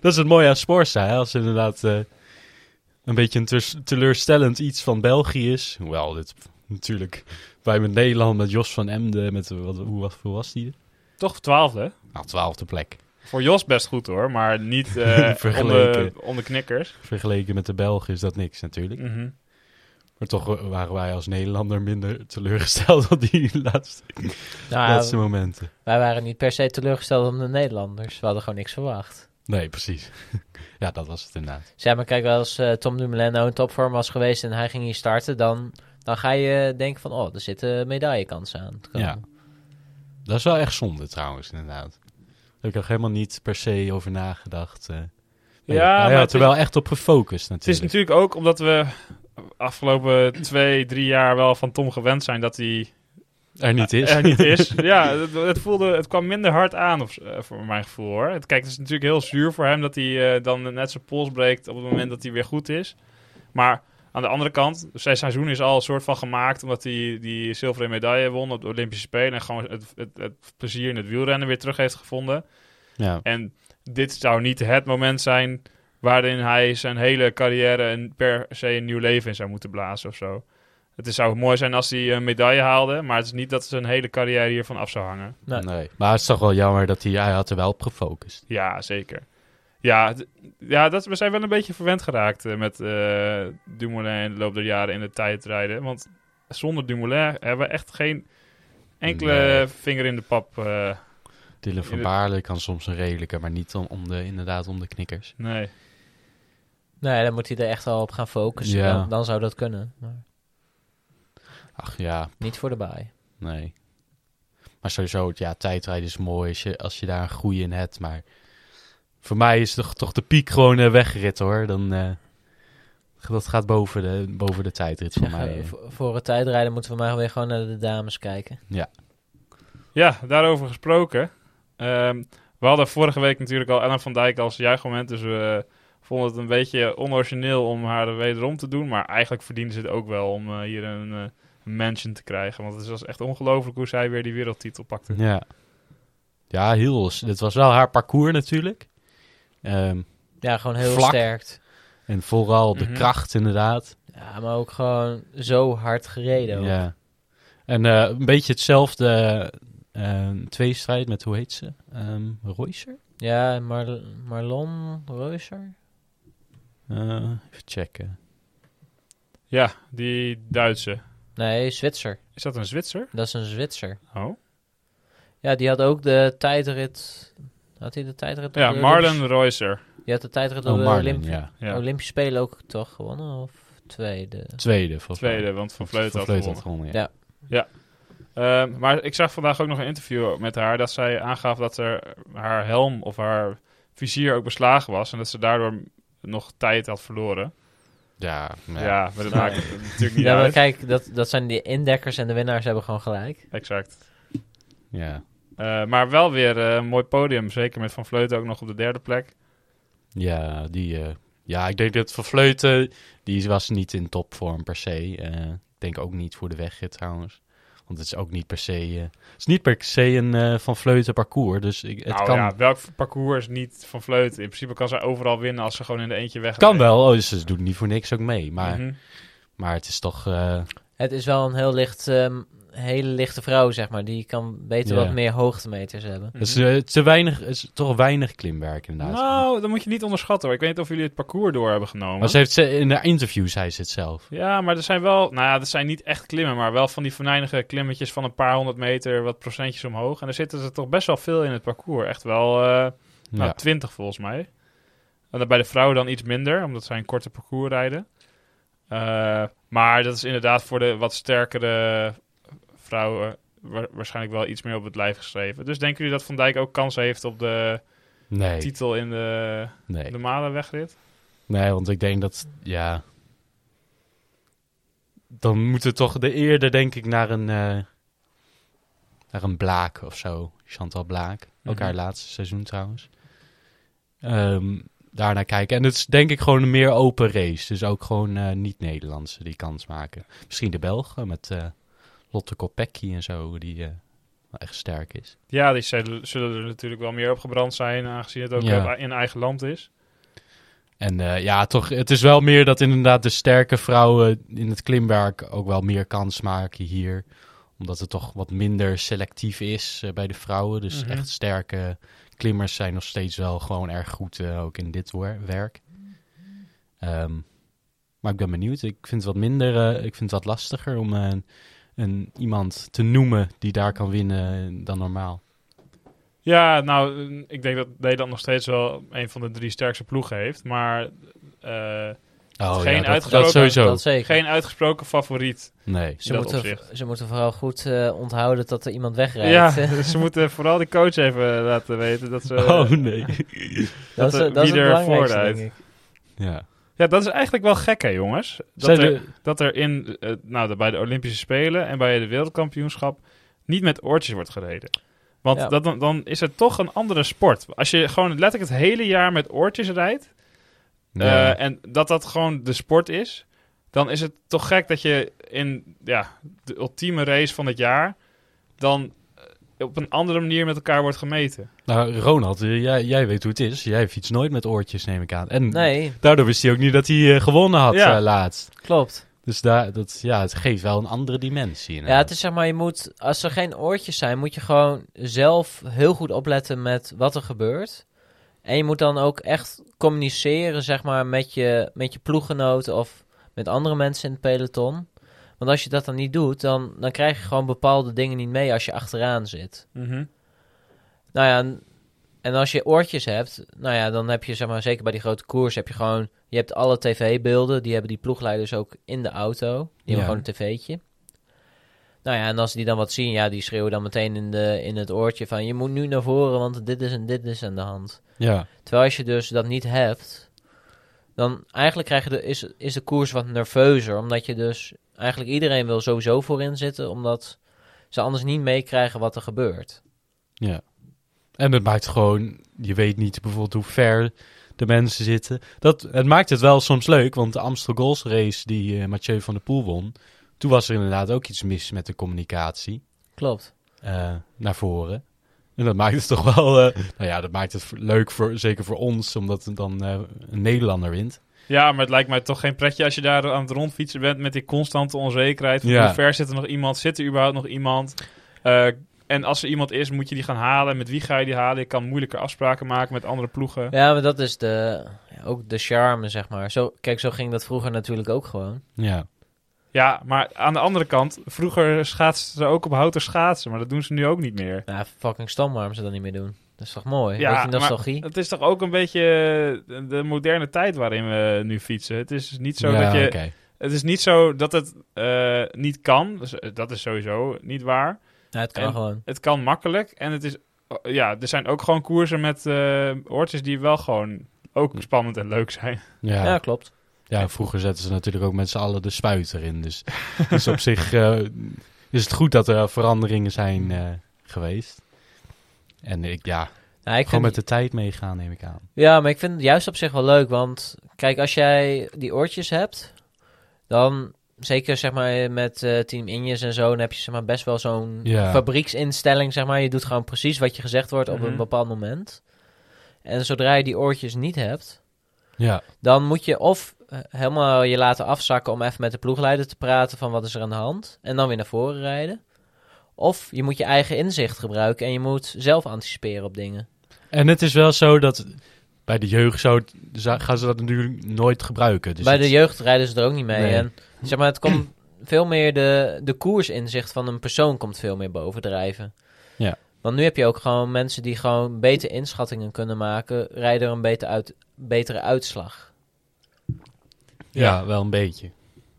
dat is het mooie aan Sporza. Hè? Als inderdaad eh, een beetje een ters- teleurstellend iets van België is. Hoewel, dit natuurlijk... Wij met Nederland, met Jos van Emden, met eh, wat, hoe, was- hoe was die?
Toch twaalfde?
Nou, twaalfde plek.
Voor Jos best goed hoor, maar niet eh onder,
Vergeleken.
onder knikkers.
Vergeleken met de Belgen is dat niks natuurlijk.
Mhm.
Maar toch wa- waren wij als Nederlander minder teleurgesteld dan die laatste,
Nou,
laatste momenten.
wij waren niet per se teleurgesteld om de Nederlanders. We hadden gewoon niks verwacht.
Nee, precies. ja, dat was het inderdaad.
Zeg maar, kijk, als eh, Tom Dumoulin nou in topvorm was geweest en hij ging hier starten, dan, dan ga je denken van, oh, er zitten medaillekansen aan. te komen.
Ja. Dat is wel echt zonde trouwens, inderdaad. Daar heb ik nog helemaal niet per se over nagedacht. eh. Nee,
Ja,
nou
maar
ja,
het
had er
is-
wel echt op gefocust
Het is
natuurlijk.
natuurlijk ook omdat we afgelopen twee, drie jaar wel van Tom gewend zijn dat hij
Er niet is.
er niet is. ja, het, het voelde, het kwam minder hard aan of, eh, voor mijn gevoel hoor. Het, kijk, het is natuurlijk heel zuur voor hem dat hij eh, dan net zijn pols breekt op het moment dat hij weer goed is. Maar aan de andere kant, zijn seizoen is al een soort van gemaakt omdat hij die zilveren medaille won op de Olympische Spelen. En gewoon het, het, het plezier in het wielrennen weer terug heeft gevonden.
ja.
En dit zou niet het moment zijn waarin hij zijn hele carrière een, per se een nieuw leven in zou moeten blazen of zo. Het is- zou mooi zijn als hij een medaille haalde, maar het is niet dat zijn hele carrière hiervan af zou hangen.
Nee.
Nee. Maar het is toch wel jammer dat hij, hij had er wel op gefocust.
Ja, zeker. Ja, d- ja dat, we zijn wel een beetje verwend geraakt eh, met eh Dumoulin in de loop der jaren in de tijdrijden. Want zonder Dumoulin hebben we echt geen enkele
Nee.
vinger in de pap. eh,
Dylan van
Ja.
Baarle kan soms een redelijke, maar niet om, om de, inderdaad om de knikkers.
nee.
Nee, dan moet hij er echt wel op gaan focussen.
Ja.
Dan, dan zou dat kunnen. Maar
Ach ja,
niet voor de baai.
Nee. Maar sowieso, ja, tijdrijden is mooi als je, als je daar een groei in hebt. Maar voor mij is toch, toch de piek gewoon eh, weggerit hoor. Dan, eh, dat gaat boven de, boven de tijdrit voor
Zeg,
mij.
eh,
eh.
voor- voor het tijdrijden moeten we maar weer gewoon naar de dames kijken.
Ja, daarover gesproken. Ehm, we hadden vorige week natuurlijk al Ellen van Dijk als juichmoment. Dus we vonden het een beetje onorigineel om haar er wederom te doen. Maar eigenlijk verdiende ze het ook wel om eh, hier een eh, een mention te krijgen. Want het was echt ongelooflijk hoe zij weer die wereldtitel pakte.
Ja. Ja, heel. Het was wel haar parcours natuurlijk. Ehm,
Ja, gewoon heel
Vlak.
sterk.
en vooral de
Mhm.
kracht inderdaad.
Ja, maar ook gewoon zo hard gereden. ook.
Ja. En eh, een beetje hetzelfde eh, tweestrijd met, hoe heet ze? Ehm Roycer?
Ja, Mar- Marlon Reuser?
Eh, even checken.
Ja, die Duitse.
Nee, Zwitser.
Is dat een Zwitser?
Dat is een Zwitser.
Oh.
Ja, die had ook de tijdrit... Had hij de tijdrit... op
Ja,
de
Marlon
Olympische-
Reusser.
Die had de tijdrit op
Oh,
de
Marlon,
Olympi-
ja.
Ja,
Olympische Spelen ook toch gewonnen? Of tweede?
Tweede, volgens mij.
tweede, want Van Vleuten had
Vleuten
gewonnen.
gewonnen, ja.
Ja.
Ehm, maar ik zag vandaag ook nog een interview met haar dat zij aangaf dat er haar helm of haar vizier ook beslagen was en dat ze daardoor nog tijd had verloren.
Ja,
Ja,
maar-
maar dat maakt natuurlijk niet
Ja, maar
uit.
kijk, dat, dat zijn die indekkers en de winnaars hebben gewoon gelijk.
Exact.
ja.
Eh, maar wel weer eh, een mooi podium, zeker met Van Vleuten ook nog op de derde plek.
Ja, die, eh, ja, ik denk dat Van Vleuten, die was niet in topvorm per se. Eh, ik denk ook niet voor de wegrit trouwens. Want het is ook niet per se, eh, het is niet per se een eh, Van Vleuten parcours. Dus ik, het
nou
kan,
ja, welk parcours is niet Van Vleuten? In principe kan zij overal winnen als ze gewoon in de eentje weg.
kan wel. Oh, dus ze doet niet voor niks ook mee. Maar,
Mhm.
maar het is toch, eh,
Het is wel een heel licht, ehm, hele lichte vrouw, zeg maar. Die kan beter
Ja.
wat meer hoogtemeters hebben.
het is, eh, te weinig, het is toch weinig klimwerk inderdaad.
Mhm. Nou, dat moet je niet onderschatten hoor. Ik weet niet of jullie het parcours door hebben genomen.
maar ze heeft, ze- in haar interview zei ze het zelf.
Ja, maar er zijn wel, nou ja, er zijn niet echt klimmen, maar wel van die venijnige klimmetjes van een paar honderd meter, wat procentjes omhoog. En er zitten er toch best wel veel in het parcours. Echt wel, eh nou,
Ja.
20 volgens mij. En dan bij de vrouwen dan iets minder, omdat zij een korte parcours rijden. Eh, maar dat is inderdaad voor de wat sterkere vrouwen wa- waarschijnlijk wel iets meer op het lijf geschreven. Dus denken jullie dat Van Dijk ook kans heeft op de
Nee,
titel in de
nee.
normale wegrit?
Nee, want ik denk dat, ja. Dan moet het toch de eerder, denk ik, naar een. eh, naar een Blaak of zo. Chantal Blaak. Ook
Mhm.
haar laatste seizoen trouwens. Ehm daarna kijken. En het is denk ik gewoon een meer open race. Dus ook gewoon eh, niet-Nederlandse die kans maken. Misschien de Belgen met eh, Lotte Kopecky en zo, die eh, wel echt sterk is.
Ja, die zullen zullen er natuurlijk wel meer op gebrand zijn, aangezien het ook
Ja.
op- in eigen land is.
En eh, ja, toch, het is wel meer dat inderdaad de sterke vrouwen in het klimwerk ook wel meer kans maken hier. Omdat het toch wat minder selectief is eh, bij de vrouwen. Dus
Mhm.
echt sterke klimmers zijn nog steeds wel gewoon erg goed, eh, ook in dit wer- werk. Ehm, maar ik ben benieuwd. Ik vind het wat minder, eh, ik vind het wat lastiger om eh, een, iemand te noemen die daar kan winnen dan eh, normaal.
Ja, nou, eh, ik denk dat Nederland nog steeds wel een van de drie sterkste ploegen heeft. Maar eh,
Oh,
Geen
ja, dat,
uitgesproken-
dat sowieso.
Dat zeker.
geen uitgesproken favoriet.
Nee.
ze,
dat
moeten,
opzicht.
ze moeten vooral goed eh, onthouden dat er iemand
Ja,
wegrijdt.
dus ze moeten vooral die coach even laten weten dat eh, ze...
eh, oh, nee.
dat,
eh,
is, dat is
wie
het
er
belangrijkste,
vooruit.
denk ik.
ja.
Ja, dat is eigenlijk wel gek, hè, jongens? Dat
Zijn
er,
de-
dat er in, eh, nou, de- bij de Olympische Spelen en bij de Wereldkampioenschap niet met oortjes wordt gereden. Want
Ja.
dat, dan- dan is het toch een andere sport. Als je gewoon letterlijk het hele jaar met oortjes rijdt
Ja.
eh, en dat dat gewoon de sport is, dan is het toch gek dat je in ja, de ultieme race van het jaar dan eh, op een andere manier met elkaar wordt gemeten.
Nou, Ronald, eh, jij, jij weet hoe het is. Jij fietst nooit met oortjes, neem ik aan. En
Nee,
daardoor wist hij ook niet dat hij eh, gewonnen had
Ja.
eh, laatst.
klopt.
Dus daar, dat, ja, het geeft wel een andere dimensie.
Ja,
inderdaad.
het is zeg maar, je moet, als er geen oortjes zijn, moet je gewoon zelf heel goed opletten met wat er gebeurt. En je moet dan ook echt communiceren, zeg maar, met je, met je ploeggenoten of met andere mensen in het peloton. Want als je dat dan niet doet, dan, dan krijg je gewoon bepaalde dingen niet mee als je achteraan zit.
Mhm.
Nou ja, en, en als je oortjes hebt, nou ja, dan heb je zeg maar, zeker bij die grote koers, heb je gewoon, je hebt alle tv-beelden, die hebben die ploegleiders ook in de auto. Die
Ja.
hebben gewoon een tv'tje. Nou ja, en als die dan wat zien, ja, die schreeuwen dan meteen in, de, in het oortje van, je moet nu naar voren, want dit is en dit is aan de hand.
ja.
Terwijl als je dus dat niet hebt, dan eigenlijk krijg je de, is, is de koers wat nerveuzer, omdat je dus eigenlijk iedereen wil sowieso voorin zitten, omdat ze anders niet meekrijgen wat er gebeurt.
Ja. En het maakt gewoon, je weet niet bijvoorbeeld hoe ver de mensen zitten. Dat, het maakt het wel soms leuk, want de Amstel Goals race die eh, Mathieu van der Poel won, toen was er inderdaad ook iets mis met de communicatie
Klopt.
eh, naar voren. En dat maakt het toch wel, eh, nou ja, dat maakt het voor- leuk voor, zeker voor ons, omdat het dan eh, een Nederlander wint.
Ja, maar het lijkt mij toch geen pretje als je daar aan het rondfietsen bent met die constante onzekerheid. Van
Ja.
Hoe ver zit er nog iemand? Zit er überhaupt nog iemand? Eh, en als er iemand is, moet je die gaan halen. Met wie ga je die halen? Je kan moeilijker afspraken maken met andere ploegen.
Ja, maar dat is de, ook de charme, zeg maar. Zo, kijk, zo ging dat vroeger natuurlijk ook gewoon.
Ja.
Ja, maar aan de andere kant, vroeger schaatsten ze ook op houten schaatsen, maar dat doen ze nu ook niet meer.
Ja, fucking stom waarom ze dat niet meer doen. Dat is toch mooi?
Ja,
Beetje
maar-
nostalgie.
Het is toch ook een beetje eh, de moderne tijd waarin we nu fietsen. Het is dus niet zo
Ja,
dat je
oké.
het is niet zo dat het eh, niet kan. Dus, eh, Dat is sowieso niet waar.
Ja, het kan
en-
gewoon.
het kan makkelijk. En het is, eh, ja, er zijn ook gewoon koersen met eh oortjes die wel gewoon ook
Hm.
spannend en leuk zijn.
Ja.
ja,
klopt.
Ja, vroeger zetten ze natuurlijk ook met z'n allen de spuit erin. Dus, dus op zich eh, is het goed dat er veranderingen zijn eh, geweest. En ik, ja,
Ja, ik
gewoon
vind,
met de tijd meegaan, neem ik aan.
ja, maar ik vind het juist op zich wel leuk, want kijk, als jij die oortjes hebt, dan zeker zeg maar met eh, Team Injes en zo, dan heb je zeg maar best wel zo'n
Ja.
fabrieksinstelling, zeg maar. Je doet gewoon precies wat je gezegd wordt op
Mhm.
een bepaald moment. En zodra je die oortjes niet hebt,
Ja,
dan moet je of eh, helemaal je laten afzakken om even met de ploegleider te praten van wat is er aan de hand. En dan weer naar voren rijden. Of je moet je eigen inzicht gebruiken en je moet zelf anticiperen op dingen.
en het is wel zo dat bij de jeugd zo, za- gaan ze dat natuurlijk nooit gebruiken. Dus
Bij
het-
de jeugd rijden ze er ook niet mee.
Nee.
En zeg maar, het komt veel meer de, de koersinzicht van een persoon komt veel meer bovendrijven.
Ja.
Want nu heb je ook gewoon mensen die gewoon beter inschattingen kunnen maken, rijden er een beter uit, betere uitslag.
ja, wel een beetje.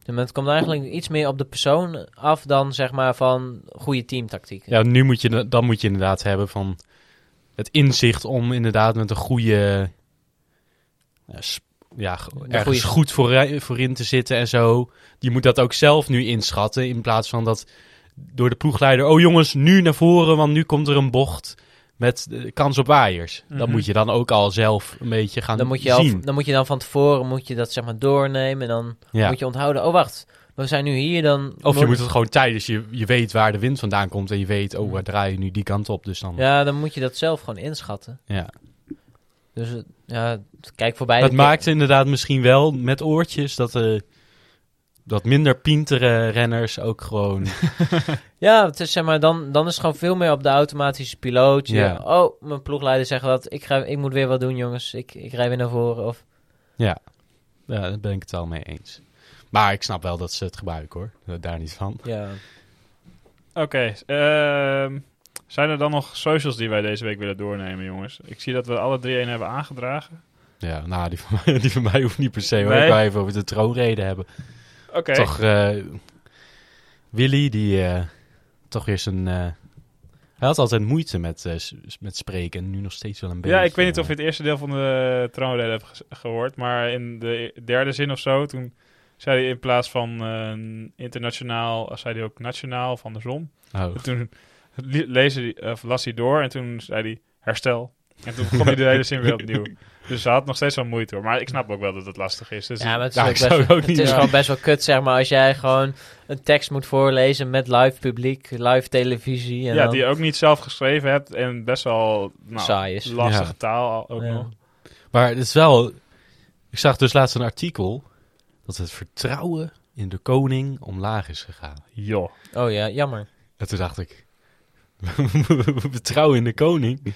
Dus het komt eigenlijk iets meer op de persoon af dan zeg maar van goede teamtactieken.
Ja, nu moet je, dan moet je inderdaad hebben van het inzicht om inderdaad met een goede... Ja, sp- ja, g-
Een
ergens
goede-
goed voor, voorin te zitten en zo. Je moet dat ook zelf nu inschatten. In plaats van dat door de ploegleider... Oh jongens, nu naar voren, want nu komt er een bocht met eh, kans op waaiers. Dat
Mhm.
moet je dan ook al zelf een beetje gaan
Dan moet, je al,
zien.
dan moet je dan van tevoren moet je dat zeg maar doornemen. En dan
ja.
moet je onthouden. Oh, wacht. We zijn nu hier. Dan
Of je moet het gewoon tijdens... Je, je weet waar de wind vandaan komt en je weet... Oh, we draaien nu die kant op. Dus dan...
Mhm. Ja, dan moet je dat zelf gewoon inschatten.
ja.
Dus eh, ja, kijk voorbij.
Dat
de-
maakt inderdaad misschien wel met oortjes dat, eh, dat minder pintere renners ook gewoon.
Ja, het is, zeg maar, dan, dan is het gewoon veel meer op de automatische piloot. Je-
Ja.
Oh, mijn ploegleider zegt wat. Ik, ga, ik moet weer wat doen, jongens. Ik, ik rij weer naar voren. Of,
ja, daar ben ik het wel mee eens. Maar ik snap wel dat ze het gebruiken hoor. Daar niet van.
ja.
Oké, ehm, Zijn er dan nog socials die wij deze week willen doornemen, jongens? Ik zie dat we alle drie één hebben aangedragen.
Ja, nou, die van mij, die van mij hoeft niet per se. hoor.
Nee.
Ik wou even over de troonreden hebben.
Oké.
Toch, eh, Willy, die eh, toch weer zijn... eh, hij had altijd moeite met, eh, s- met spreken en nu nog steeds wel een beetje. eh.
Ja, ik weet niet of je het eerste deel van de troonrede hebt ge- gehoord, maar in de e-, derde zin of zo, toen zei hij in plaats van eh, internationaal, zei hij ook nationaal van de zon.
eh, oh.
En toen li- lees hij, of las hij door en toen zei hij herstel. En toen begon hij de hele zin weer opnieuw. Dus ze had nog steeds wel moeite hoor. Maar ik snap ook wel dat het lastig is. Dus
Ja, maar het is,
Nou,
ook
ik
best,
zou het ook
het
niet
is
doen.
gewoon best wel kut, zeg maar, als jij gewoon een tekst moet voorlezen met live publiek, live televisie en
ja,
dan
die je ook niet zelf geschreven hebt en best wel nou,
saai is.
lastige
Ja.
taal al- ook
Ja.
nog.
Maar het is wel... Ik zag dus laatst een artikel dat het vertrouwen in de koning omlaag is gegaan.
Joh.
Oh ja, jammer.
En toen dacht ik... vertrouwen in de koning?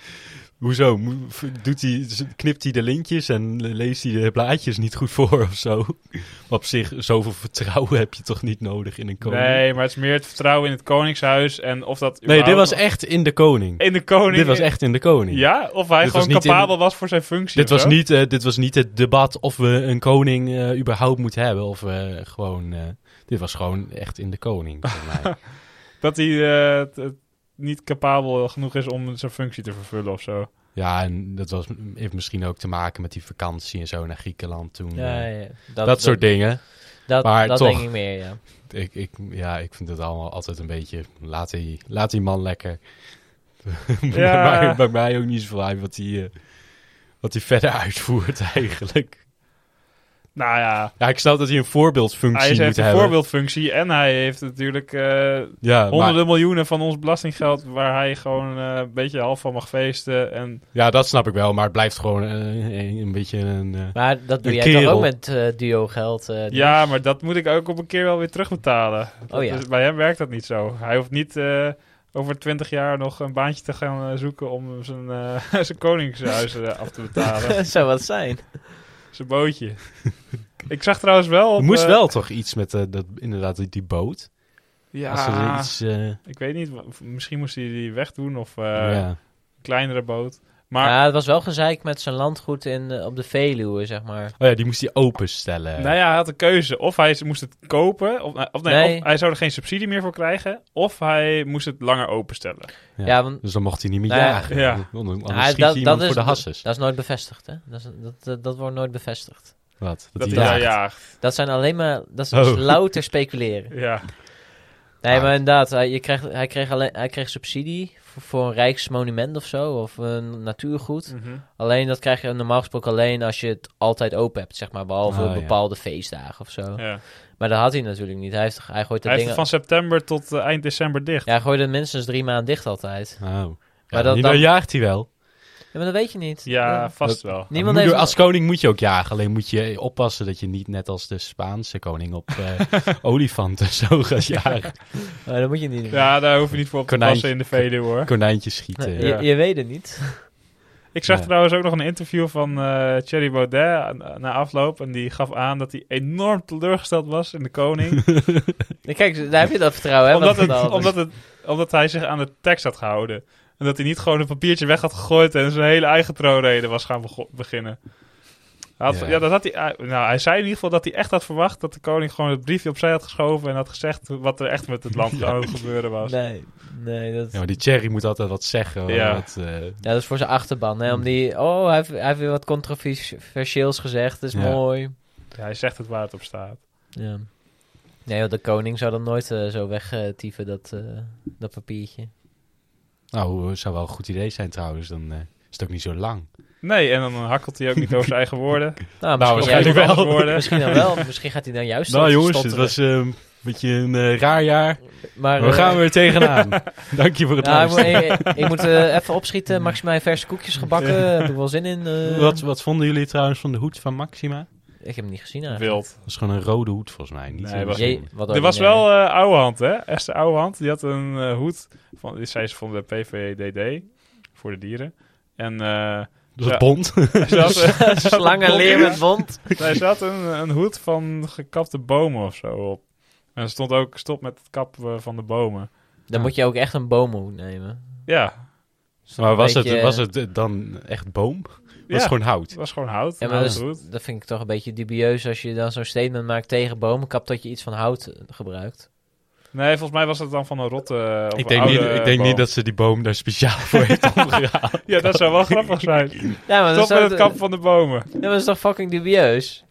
Hoezo? Mo- Doet hij, knipt hij de lintjes en leest hij de blaadjes niet goed voor of zo? Maar op zich, zoveel vertrouwen heb je toch niet nodig in een koning?
Nee, maar het is meer het vertrouwen in het koningshuis en of dat
Nee, dit
überhaupt-
was echt in de koning.
in de koning.
Dit was echt in de koning.
Ja, of hij
Dit was
gewoon
niet in-
capabel was voor zijn functie.
Dit
of
was,
zo?
niet, eh, dit was niet het debat of we een koning eh, überhaupt moeten hebben. Of eh, gewoon. eh, dit was gewoon echt in de koning. voor mij.
Dat hij eh, t- t- niet capabel genoeg is om zijn functie te vervullen of zo.
Ja, en dat was, heeft misschien ook te maken met die vakantie en zo naar Griekenland toen.
Ja,
eh,
ja, ja.
dat, soort dingen.
Dat,
maar
dat
toch.
denk ik meer, ja.
Ik, ik, ja, ik vind het allemaal altijd een beetje. Laat die, laat die man lekker.
Ja.
bij, mij, bij mij ook niet zoveel uit wat hij eh, wat hij verder uitvoert eigenlijk.
Nou ja,
Ja, ik snap dat hij een voorbeeldfunctie
hij is-
moet
heeft een
hebben.
voorbeeldfunctie en hij heeft natuurlijk eh,
Ja, maar-
honderden miljoenen van ons belastinggeld waar hij gewoon eh, een beetje half van mag feesten. En
Ja, dat snap ik wel, maar het blijft gewoon eh, een beetje een... eh,
Maar dat doe
Een
jij
kerel.
toch ook met eh, duo geld? eh, dus-
ja, maar dat moet ik ook op een keer wel weer terugbetalen. Dat
Oh ja.
is- bij hem werkt dat niet zo. Hij hoeft niet eh, over twintig jaar nog een baantje te gaan eh, zoeken om zijn, eh, zijn koningshuis eh, af te betalen.
Dat zou wat zijn.
zijn bootje. ik zag trouwens wel... Op,
er moest
eh,
wel toch iets met eh, dat, inderdaad die- die boot. Als er
Ja,
iets, eh,
ik weet niet. wa- Misschien moest hij die wegdoen of eh,
ja.
een kleinere boot. Maar
Ja, het was wel gezeik met zijn landgoed in, eh, op de Veluwe, zeg maar.
Oh ja, die moest hij openstellen.
Nou ja, hij had een keuze. Of hij moest het kopen, of, eh, of, nee,
Nee.
of hij zou er geen subsidie meer voor krijgen, of hij moest het langer openstellen.
Ja.
Ja, want
Dus dan mocht hij niet meer
Nou ja.
jagen.
Ja.
Want dan- Anders
Ah,
schiet je iemand voor de hasses.
Dat is nooit bevestigd, hè? Dat, is, dat, dat, dat wordt nooit bevestigd.
Wat?
Dat,
hij
hij daar
jaagt.
jaagt.
Dat zijn alleen maar... Dat is dus
Oh.
louter speculeren.
Ja.
Nee,
Ah.
maar inderdaad. Hij, je kreeg, hij, kreeg alleen, hij kreeg subsidie voor, voor een rijksmonument of zo. Of een natuurgoed.
Mhm.
Alleen dat krijg je normaal gesproken alleen als je het altijd open hebt. Zeg maar, behalve
Oh, ja.
bepaalde feestdagen of zo.
ja.
Maar dat had hij natuurlijk niet. Hij, heeft, hij gooit de
Hij heeft
dingen...
het van september tot eh, eind december dicht.
Ja, hij gooit het minstens drie maanden dicht altijd.
Oh. Ja,
dat-
dan,
dan-
jaagt hij wel.
Ja, maar dat weet je niet.
Ja,
Ja.
vast wel.
Maar
Niemand
moeder-
heeft...
Als koning moet je ook jagen. Alleen moet je oppassen dat je niet net als de Spaanse koning op eh olifanten zo gaat jagen.
Oh, dat moet je niet doen.
Ja, daar hoef je niet voor op te
Konijn.
passen in de Veluwe hoor.
Konijntjes schieten.
Nee,
Ja.
je, je weet het niet.
Ik zag
Ja.
trouwens ook nog een interview van eh Thierry Baudet aan- na afloop. En die gaf aan dat hij enorm teleurgesteld was in de koning.
Kijk, daar heb je dat vertrouwen, hè?
omdat,
wat
het,
van de
omdat, het, omdat hij zich aan de tekst had gehouden. En dat hij niet gewoon een papiertje weg had gegooid en zijn hele eigen troonrede was gaan bego- beginnen. Hij had-
Ja.
ja. dat had hij, hij- nou, hij zei in ieder geval dat hij echt had verwacht dat de koning gewoon het briefje opzij had geschoven en had gezegd wat er echt met het land aan het gebeuren was.
Nee, nee, dat...
Ja, maar die Thierry moet altijd wat zeggen.
Ja.
want, eh,
Ja, dat is voor zijn achterban, hè? Om die... Oh, hij heeft, hij heeft weer wat controversieels gezegd. Dat is
Ja.
mooi.
Ja, hij zegt het waar het op staat.
Ja. Nee, joh, de koning zou dat nooit eh, zo wegtieven, dat, eh, dat papiertje.
Nou, eh, zou wel een goed idee zijn trouwens. Dan eh, is het ook niet zo lang.
Nee, en dan hakkelt hij ook niet over zijn eigen woorden.
Nou,
waarschijnlijk
juist-
wel.
anders Misschien dan wel. Misschien gaat hij dan juist
nou
stotteren.
jongens, het was eh, een beetje een eh, raar jaar.
Maar,
We
eh,
gaan weer tegenaan. Dank je voor het
nou, ik moet,
luisteren.
ik, ik moet eh, even opschieten. Maxima verse koekjes gebakken. Heb ik wel zin in. eh.
Wat, wat vonden jullie trouwens van de hoed van Maxima?
Ik heb hem niet gezien eigenlijk.
Wild.
Dat is gewoon een rode hoed volgens mij. Niet
Nee,
een-
was-
Jee, wat
Er was
ordinair.
wel eh Ouwehand, hè? Esther Ouwehand. Die had een eh, hoed. Van, die zij is van de PVDD. Voor de dieren. En eh
Dat is
Ja.
bond.
ze had,
Slangen leer met wond.
Nee, er zat een, een hoed van gekapte bomen of zo op. En er stond ook stop met het kappen van de bomen.
Dan moet je ook echt een boomhoed nemen.
Ja,
Maar was,
beetje-
het, was het eh, dan echt boom? Was
Ja.
het gewoon hout?
het was gewoon hout.
Ja,
Ja,
maar dat, is-
goed.
dat vind ik toch een beetje dubieus als je dan zo'n statement maakt tegen bomenkap dat je iets van hout eh, gebruikt.
Nee, volgens mij was het dan van een rotte. eh, of
Ik denk,
oude
niet, ik denk
boom.
niet dat ze die boom daar speciaal voor heeft omgehaald.
Ja, dat zou wel grappig zijn.
Ja, maar
Stop
dat,
met
zou,
het kamp van de bomen.
ja, maar dat is toch fucking dubieus?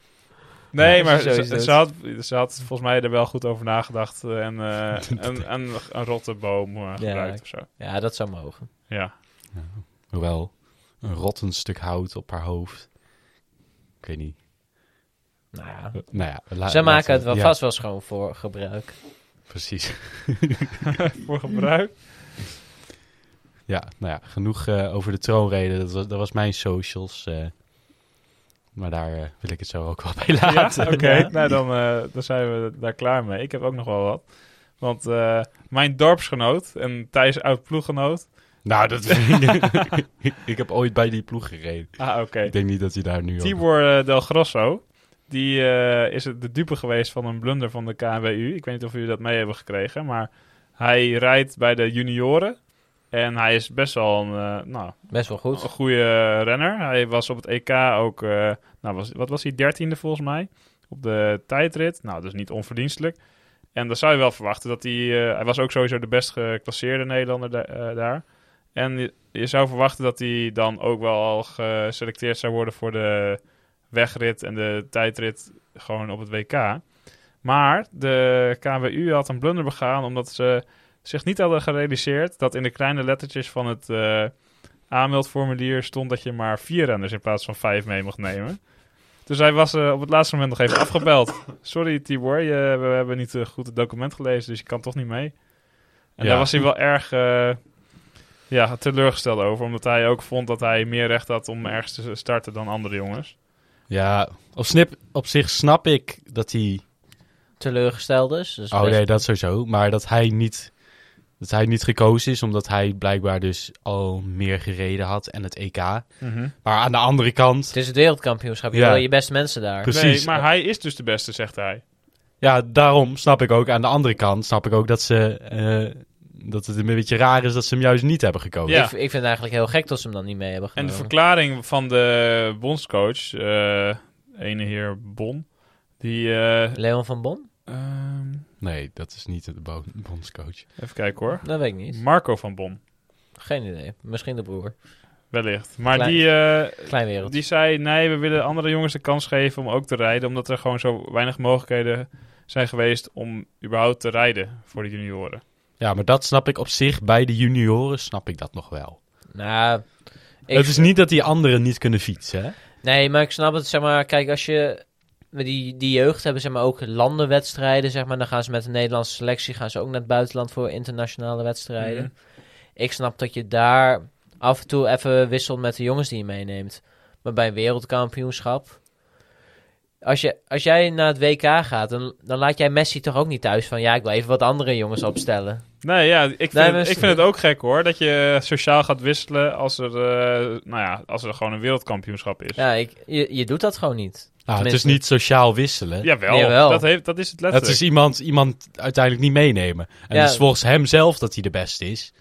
Nee,
Ja,
maar
zo is
ze,
het.
ze had, ze had volgens mij er wel goed over nagedacht. eh, En eh, een, een, een rotte boom eh, gebruikt of zo.
Ja, dat zou mogen.
Ja.
Hoewel, een rottend stuk hout op haar hoofd. Ik weet niet.
Nou ja.
Nou ja, we la-
Ze
laten-
maken het wel
ja,
vast wel schoon voor gebruik.
Precies.
Voor gebruik.
Ja, nou ja, genoeg eh, over de troonrede. Dat was, dat was mijn socials. eh. maar daar eh, wil ik het zo ook wel bij
Ja,
laten.
oké. Nou, dan, eh, dan zijn we daar klaar mee. Ik heb ook nog wel wat. Want eh, mijn dorpsgenoot en Thijs oud ploeggenoot.
Nou, dat vind ik. ik heb ooit bij die ploeg gereden.
Ah, oké.
Ik denk niet dat hij daar nu over-
Tibor eh, Del Grosso. Die eh, is het de dupe geweest van een blunder van de KNWU. Ik weet niet of jullie dat mee hebben gekregen. Maar hij rijdt bij de junioren. En hij is best wel een, eh, nou,
Best wel
Oh.
goed.
een goede renner. Hij was op het EK ook, eh, nou, was, wat was hij, dertiende volgens mij? Op de tijdrit. Nou, dus niet onverdienstelijk. En dan zou je wel verwachten dat hij... eh, hij was ook sowieso de best geclasseerde Nederlander da- eh, daar. En je, je zou verwachten dat hij dan ook wel al geselecteerd zou worden voor de wegrit en de tijdrit gewoon op het WK. Maar de KWU had een blunder begaan omdat ze zich niet hadden gerealiseerd dat in de kleine lettertjes van het eh, aanmeldformulier stond dat je maar vier renners in plaats van vijf mee mocht nemen. Dus hij was eh, op het laatste moment nog even afgebeld. Sorry Tibor, je, we hebben niet eh, goed het document gelezen, dus je kan toch niet mee. En
Ja.
daar was hij wel erg eh, ja, teleurgesteld over, omdat hij ook vond dat hij meer recht had om ergens te starten dan andere jongens.
Ja, op, snip, op zich snap ik dat hij.
Teleurgesteld dus. dus
Oh
best-
nee, dat sowieso. Maar dat hij niet. Dat hij niet gekozen is, omdat hij blijkbaar dus al meer gereden had en het EK. Maar aan de andere kant,
Het is het wereldkampioenschap. Je
Ja.
wil je beste mensen daar.
Nee,
Precies.
maar hij is dus de beste, zegt hij.
ja, daarom snap ik ook. Aan de andere kant snap ik ook dat ze. eh, dat het een beetje raar is dat ze hem juist niet hebben gekozen.
Ja.
Ik, ik vind het eigenlijk heel gek dat ze hem dan niet mee hebben
En de
genomen.
verklaring van de bondscoach, eh ene heer Bon, die... eh,
Leon van Bon?
ehm,
Nee, dat is niet de bo- bondscoach.
even kijken hoor.
Dat weet ik niet.
Marco van Bon,
Geen idee. Misschien de broer.
wellicht. Maar
Klein.
die, eh,
Klein wereld.
die zei, nee, we willen andere jongens de kans geven om ook te rijden, omdat er gewoon zo weinig mogelijkheden zijn geweest om überhaupt te rijden voor de junioren.
Ja, maar dat snap ik op zich. Bij de junioren snap ik dat nog wel.
Nou, ik-
Het is niet dat die anderen niet kunnen fietsen. Hè? Nou,
Nee, maar ik snap het, zeg maar, kijk, als je... met Die, die jeugd hebben zeg maar ook landenwedstrijden, zeg maar. Dan gaan ze met de Nederlandse selectie, gaan ze ook naar het buitenland voor internationale wedstrijden.
Mhm.
Ik snap dat je daar af en toe even wisselt met de jongens die je meeneemt. Maar bij een wereldkampioenschap... Als, je, als jij naar het WK gaat, dan, dan laat jij Messi toch ook niet thuis van... Ja, ik wil even wat andere jongens opstellen.
Nee, ja, ik vind,
Nee, maar
het, ik
is-
vind het ook gek hoor. Dat je sociaal gaat wisselen als er, eh, nou ja, als er gewoon een wereldkampioenschap is.
Ja, ik, je, je doet dat gewoon niet.
Nou, het is
Tenminste.
niet sociaal wisselen.
Jawel,
Jawel.
Dat, heeft, dat is het
Het
letterlijk.
is iemand, iemand uiteindelijk niet meenemen. En
Ja.
het is volgens hem zelf dat hij de beste is.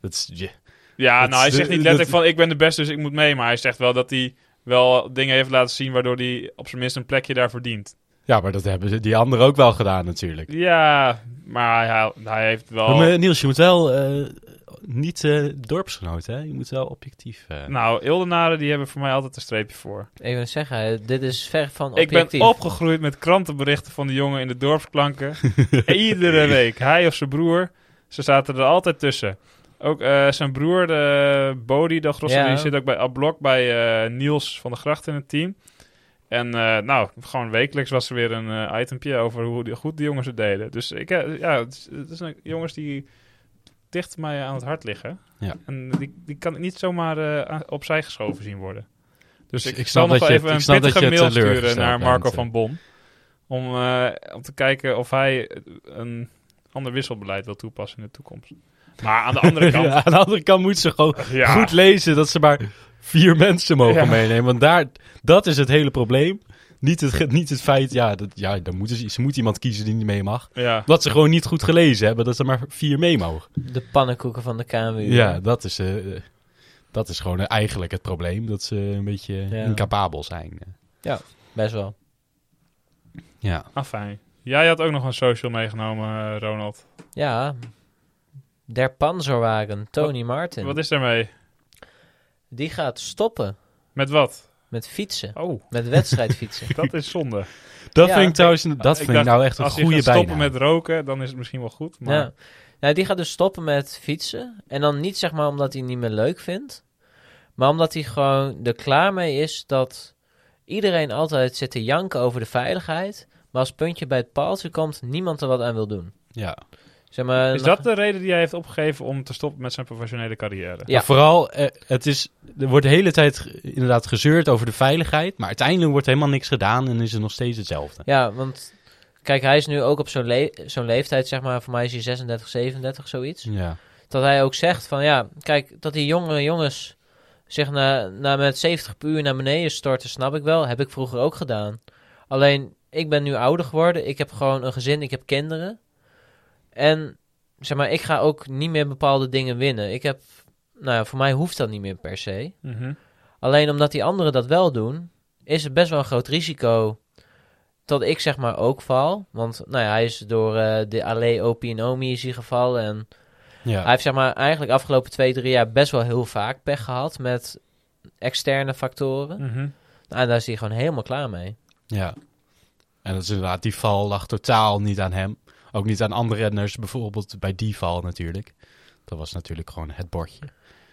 Dat is ja.
ja,
dat
nou hij
is-
zegt niet
dat-
letterlijk van ik ben de beste, dus ik moet mee. Maar hij zegt wel dat hij wel dingen heeft laten zien waardoor hij op zijn minst een plekje daar verdient.
ja, maar dat hebben ze, die anderen ook wel gedaan natuurlijk.
Ja, maar hij, hij heeft wel...
Maar Niels, je moet wel eh, niet eh, dorpsgenoot, hè? Je moet wel objectief... eh.
Nou, Ildenaren die hebben voor mij altijd een streepje voor.
Ik wil zeggen, dit is ver van
Ik
objectief.
ben opgegroeid met krantenberichten van de jongen in de dorpsklanken. Iedere week. Hij of zijn broer. Ze zaten er altijd tussen. Ook eh, zijn broer, de Bodie, de Grosso,
Ja.
die zit ook bij Ablok bij eh, Niels van der Gracht in het team. En eh, nou, gewoon wekelijks was er weer een eh, itempje over hoe die- goed die jongens het deden. Dus ik, eh, ja, het is, het is een- jongens die dicht mij aan het hart liggen.
Ja.
En die, die kan ik niet zomaar eh, aan- opzij geschoven zien worden. Dus
Ik-
ik,
ik snap
zal nog
dat
wel
je-
even
ik
een
snap dat
pittige
je
mail sturen
teleurgesteld
naar Marco
bent,
van
eh.
Bon. Om, eh, om te kijken of hij eh, een ander wisselbeleid wil toepassen in de toekomst. Maar aan de andere kant...
Ja, aan de andere kant moet ze gewoon
Ja.
goed lezen dat ze maar vier mensen mogen
Ja.
meenemen. Want daar, dat is het hele probleem. Niet het, ge- niet het feit, ja, dat, ja dan moeten ze, ze moet iemand kiezen die niet mee mag.
Ja.
Dat ze gewoon niet goed gelezen hebben, dat ze maar vier mee mogen.
De pannenkoeken van de KMU.
Ja, dat is, eh, eh, dat is gewoon eh, eigenlijk het probleem. Dat ze een beetje
Ja.
incapabel zijn.
Best wel.
Ja.
Ah, fijn. Jij had ook nog een social meegenomen, eh, Ronald.
Ja. Der Panzerwagen, Tony Martin.
Wat is daarmee?
Die gaat stoppen
Met wat?
met fietsen.
Oh,
Met wedstrijdfietsen.
dat is zonde.
Dat
Ja,
vind ik
oké.
trouwens dat vind ik
dacht,
nou echt een
Als je
goede
gaat stoppen
bijnaam.
met roken, dan is het misschien wel goed. Maar
ja. Nou, die gaat dus stoppen met fietsen. En dan niet zeg maar omdat hij het niet meer leuk vindt. Maar omdat hij gewoon er klaar mee is dat iedereen altijd zit te janken over de veiligheid. Maar als het puntje bij het paaltje komt, niemand er wat aan wil doen.
Ja.
Zeg maar,
is dat de reden die hij heeft opgegeven om te stoppen met zijn professionele carrière?
Ja.
Maar vooral, eh, het is, er wordt de hele tijd ge- inderdaad gezeurd over de veiligheid. Maar uiteindelijk wordt helemaal niks gedaan en is het nog steeds hetzelfde.
Ja, want kijk, hij is nu ook op zo'n le- zo'n leeftijd, zeg maar, voor mij is hij 36, 37, zoiets.
Ja.
Dat hij ook zegt van ja, kijk, dat die jonge jongens zich na, na met 70 per uur naar beneden storten, snap ik wel. Heb ik vroeger ook gedaan. Alleen, ik ben nu ouder geworden. Ik heb gewoon een gezin, ik heb kinderen. En zeg maar, ik ga ook niet meer bepaalde dingen winnen. Ik heb, nou ja, voor mij hoeft dat niet meer per se.
Mhm.
Alleen omdat die anderen dat wel doen, is het best wel een groot risico dat ik zeg maar ook val. Want nou ja, hij is door eh, de Allee Opie en Omi is hij gevallen. En
ja.
hij heeft zeg maar eigenlijk afgelopen twee, drie jaar best wel heel vaak pech gehad met externe
Hm.
factoren.
Mhm.
Nou, en daar is hij gewoon helemaal klaar mee.
Ja. En dat is inderdaad, die val lag totaal niet aan hem. Ook niet aan andere renners, bijvoorbeeld bij die val natuurlijk. Dat was natuurlijk gewoon het bordje.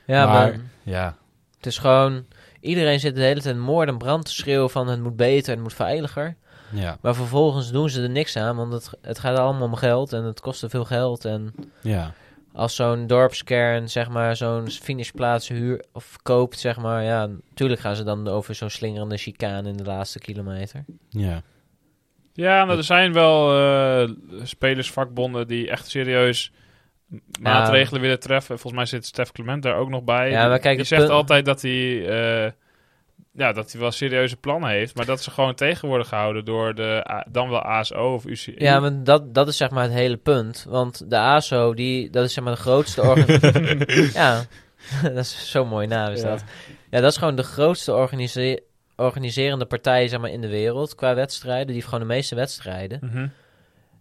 Ja, maar,
Maar- Ja.
het is gewoon... Iedereen zit de hele tijd moord en brand te schreeuwen van het moet beter, het moet veiliger.
Ja.
Maar vervolgens doen ze er niks aan, want het, het gaat allemaal om geld en het kost te veel geld. En
Ja.
als zo'n dorpskern, zeg maar, zo'n finishplaats huur of koopt, zeg maar, ja, natuurlijk gaan ze dan over zo'n slingerende chicane in de laatste kilometer.
Ja.
Ja, nou, er zijn wel eh, spelersvakbonden die echt serieus m- maatregelen willen treffen. Volgens mij zit Stef Clement daar ook nog bij.
Ja, maar kijk,
die
het
zegt
punt-
altijd dat hij, eh, ja, dat hij wel serieuze plannen heeft, maar dat ze gewoon tegen worden gehouden door de A- dan wel ASO of UCI.
Ja, maar dat, dat is zeg maar het hele punt. Want de ASO, die, dat is zeg maar de grootste organisatie. ja, dat is zo'n mooie naam is
Ja.
dat. Ja, dat is gewoon de grootste organise- organiserende partij, zeg maar, in de wereld qua wedstrijden. Die heeft gewoon de meeste wedstrijden.
Mhm.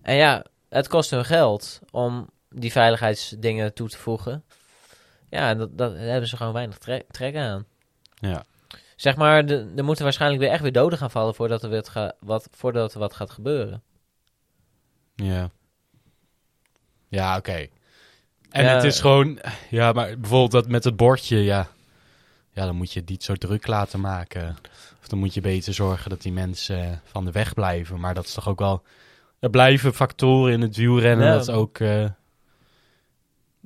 En ja, het kost hun geld om die veiligheidsdingen toe te voegen. Ja, en dat, dat daar hebben ze gewoon weinig trek, trek aan.
Ja.
Zeg maar, de- er moeten waarschijnlijk weer echt weer doden gaan vallen voordat er, weer het ga- wat, voordat er wat gaat gebeuren.
Ja. Ja, oké. En
Ja.
het is gewoon... Ja, maar bijvoorbeeld dat met het bordje, ja. Ja, dan moet je het niet zo druk laten maken. Of dan moet je beter zorgen dat die mensen eh, van de weg blijven. Maar dat is toch ook wel... Er blijven factoren in het wielrennen
Ja.
dat ook... eh,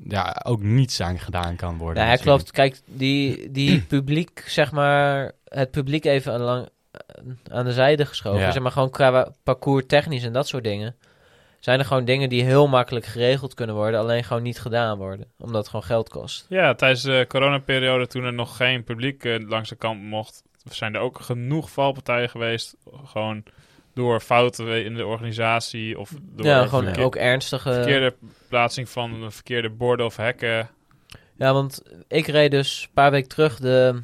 ja, ook niets aan gedaan kan worden.
Nou ja,
natuurlijk.
klopt. Kijk, die, die publiek, zeg maar, het publiek even aan, lang, aan de zijde geschoven.
Ja.
Zeg maar, gewoon qua parcours technisch en dat soort dingen. Zijn er gewoon dingen die heel makkelijk geregeld kunnen worden, alleen gewoon niet gedaan worden. Omdat het gewoon geld kost.
Ja, tijdens de coronaperiode toen er nog geen publiek eh, langs de kant mocht, zijn er ook genoeg valpartijen geweest. Gewoon door fouten in de organisatie of door
Ja, gewoon
verkeer-
ook eh, ernstige...
verkeerde plaatsing van de verkeerde borden of hekken.
Ja, want ik reed dus een paar weken terug de,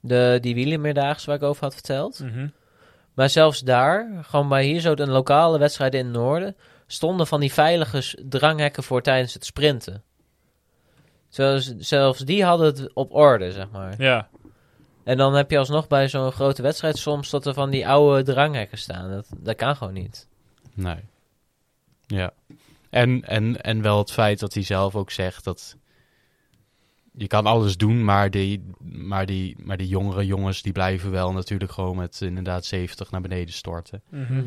de, die wielermiddaagse waar ik over had verteld. Maar zelfs daar, gewoon bij hier zo een lokale wedstrijden in het noorden, stonden van die veilige s- dranghekken voor tijdens het sprinten. Zelfs, zelfs die hadden het op orde, zeg maar.
Ja,
En dan heb je alsnog bij zo'n grote wedstrijd soms dat er van die oude dranghekken staan. Dat, dat kan gewoon niet.
Nee. Ja. En, en, en wel het feit dat hij zelf ook zegt dat je kan alles doen, maar die, maar die, maar die jongere jongens die blijven wel natuurlijk gewoon met inderdaad 70 naar beneden storten.
Mhm.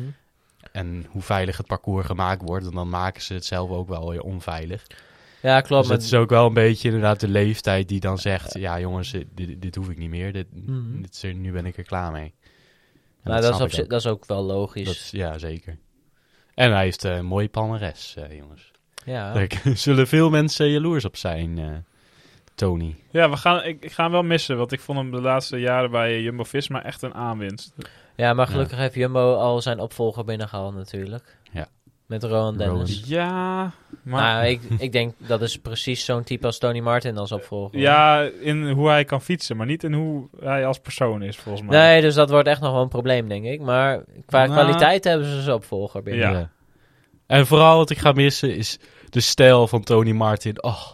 En hoe veilig het parcours gemaakt wordt, en dan maken ze het zelf ook wel weer onveilig.
Ja, klopt.
Dus
maar-
het is ook wel een beetje inderdaad de leeftijd die dan zegt, ja jongens, dit, dit- dit hoef ik niet meer, dit,
Mhm.
dit, is- nu ben ik er klaar mee. En
maar dat, is
snap
op
ik
zich-
ook.
dat is ook wel logisch.
Dat is- Ja, zeker. En hij heeft eh, een mooie palmares, eh, jongens.
ja.
Daar zullen veel mensen jaloers op zijn. eh, Tony.
Ja, we gaan, ik, ik ga hem wel missen, want ik vond hem de laatste jaren bij Jumbo-Visma echt een aanwinst. Dus
Ja, maar gelukkig heeft Jumbo al zijn opvolger binnengehaald natuurlijk.
Ja.
Met Rowan Dennis.
Rowan.
Ja, maar...
Nou, ik, ik denk dat is precies zo'n type als Tony Martin als opvolger.
Ja, in hoe hij kan fietsen, maar niet in hoe hij als persoon is, volgens mij.
Nee, dus dat wordt echt nog wel een probleem, denk ik. Maar qua
Nou.
kwaliteit hebben ze zijn opvolger binnen.
Ja.
En vooral wat ik ga missen is de stijl van Tony Martin. Oh,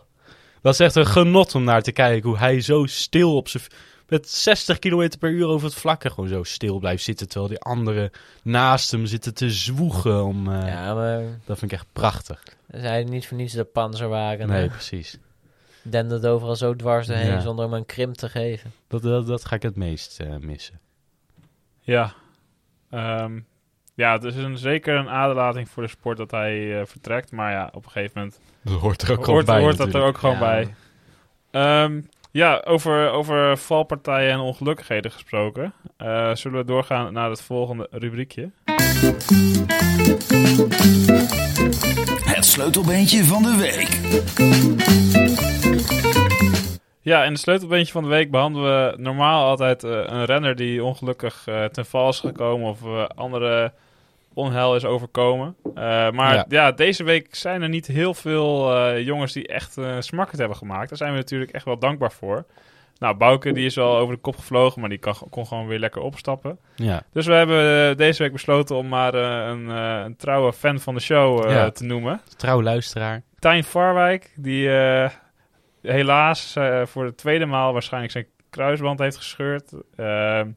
dat is echt een genot om naar te kijken. Hoe hij zo stil op zijn... Met 60 km per uur over het vlakke gewoon zo stil blijft zitten. Terwijl die anderen naast hem zitten te zwoegen. Om, eh,
Ja, maar
Dat vind ik eh, echt prachtig.
zij niet voor niets de panzerwagen.
Nee,
Nee.
precies.
Dendert overal zo dwars doorheen
Ja.
zonder hem een krimp te geven.
Dat, dat, dat ga ik het meest eh, missen.
Ja. Ehm, ja, het is een, zeker een aderlating voor de sport dat hij eh, vertrekt. Maar ja, op een gegeven moment
Dat hoort er ook
hoort, hoort dat er ook gewoon
Ja.
bij. Ehm, ja, over, over valpartijen en ongelukkigheden gesproken. Eh, zullen we doorgaan naar het volgende rubriekje?
Het sleutelbeentje van de week.
Ja, in het sleutelbeentje van de week behandelen we normaal altijd eh, een renner die ongelukkig eh, ten val is gekomen of eh, andere onheil is overkomen. Eh, maar ja.
Ja.
deze week zijn er niet heel veel eh, jongens die echt eh smakkend hebben gemaakt. Daar zijn we natuurlijk echt wel dankbaar voor. Nou, Bouke die is al over de kop gevlogen, maar die kan, kon gewoon weer lekker opstappen.
Ja,
Dus we hebben eh, deze week besloten om maar eh, een, eh, een trouwe fan van de show eh,
Ja.
te noemen.
trouw luisteraar.
Tijn Farwijk, die eh, helaas eh, voor de tweede maal waarschijnlijk zijn kruisband heeft gescheurd. Ehm,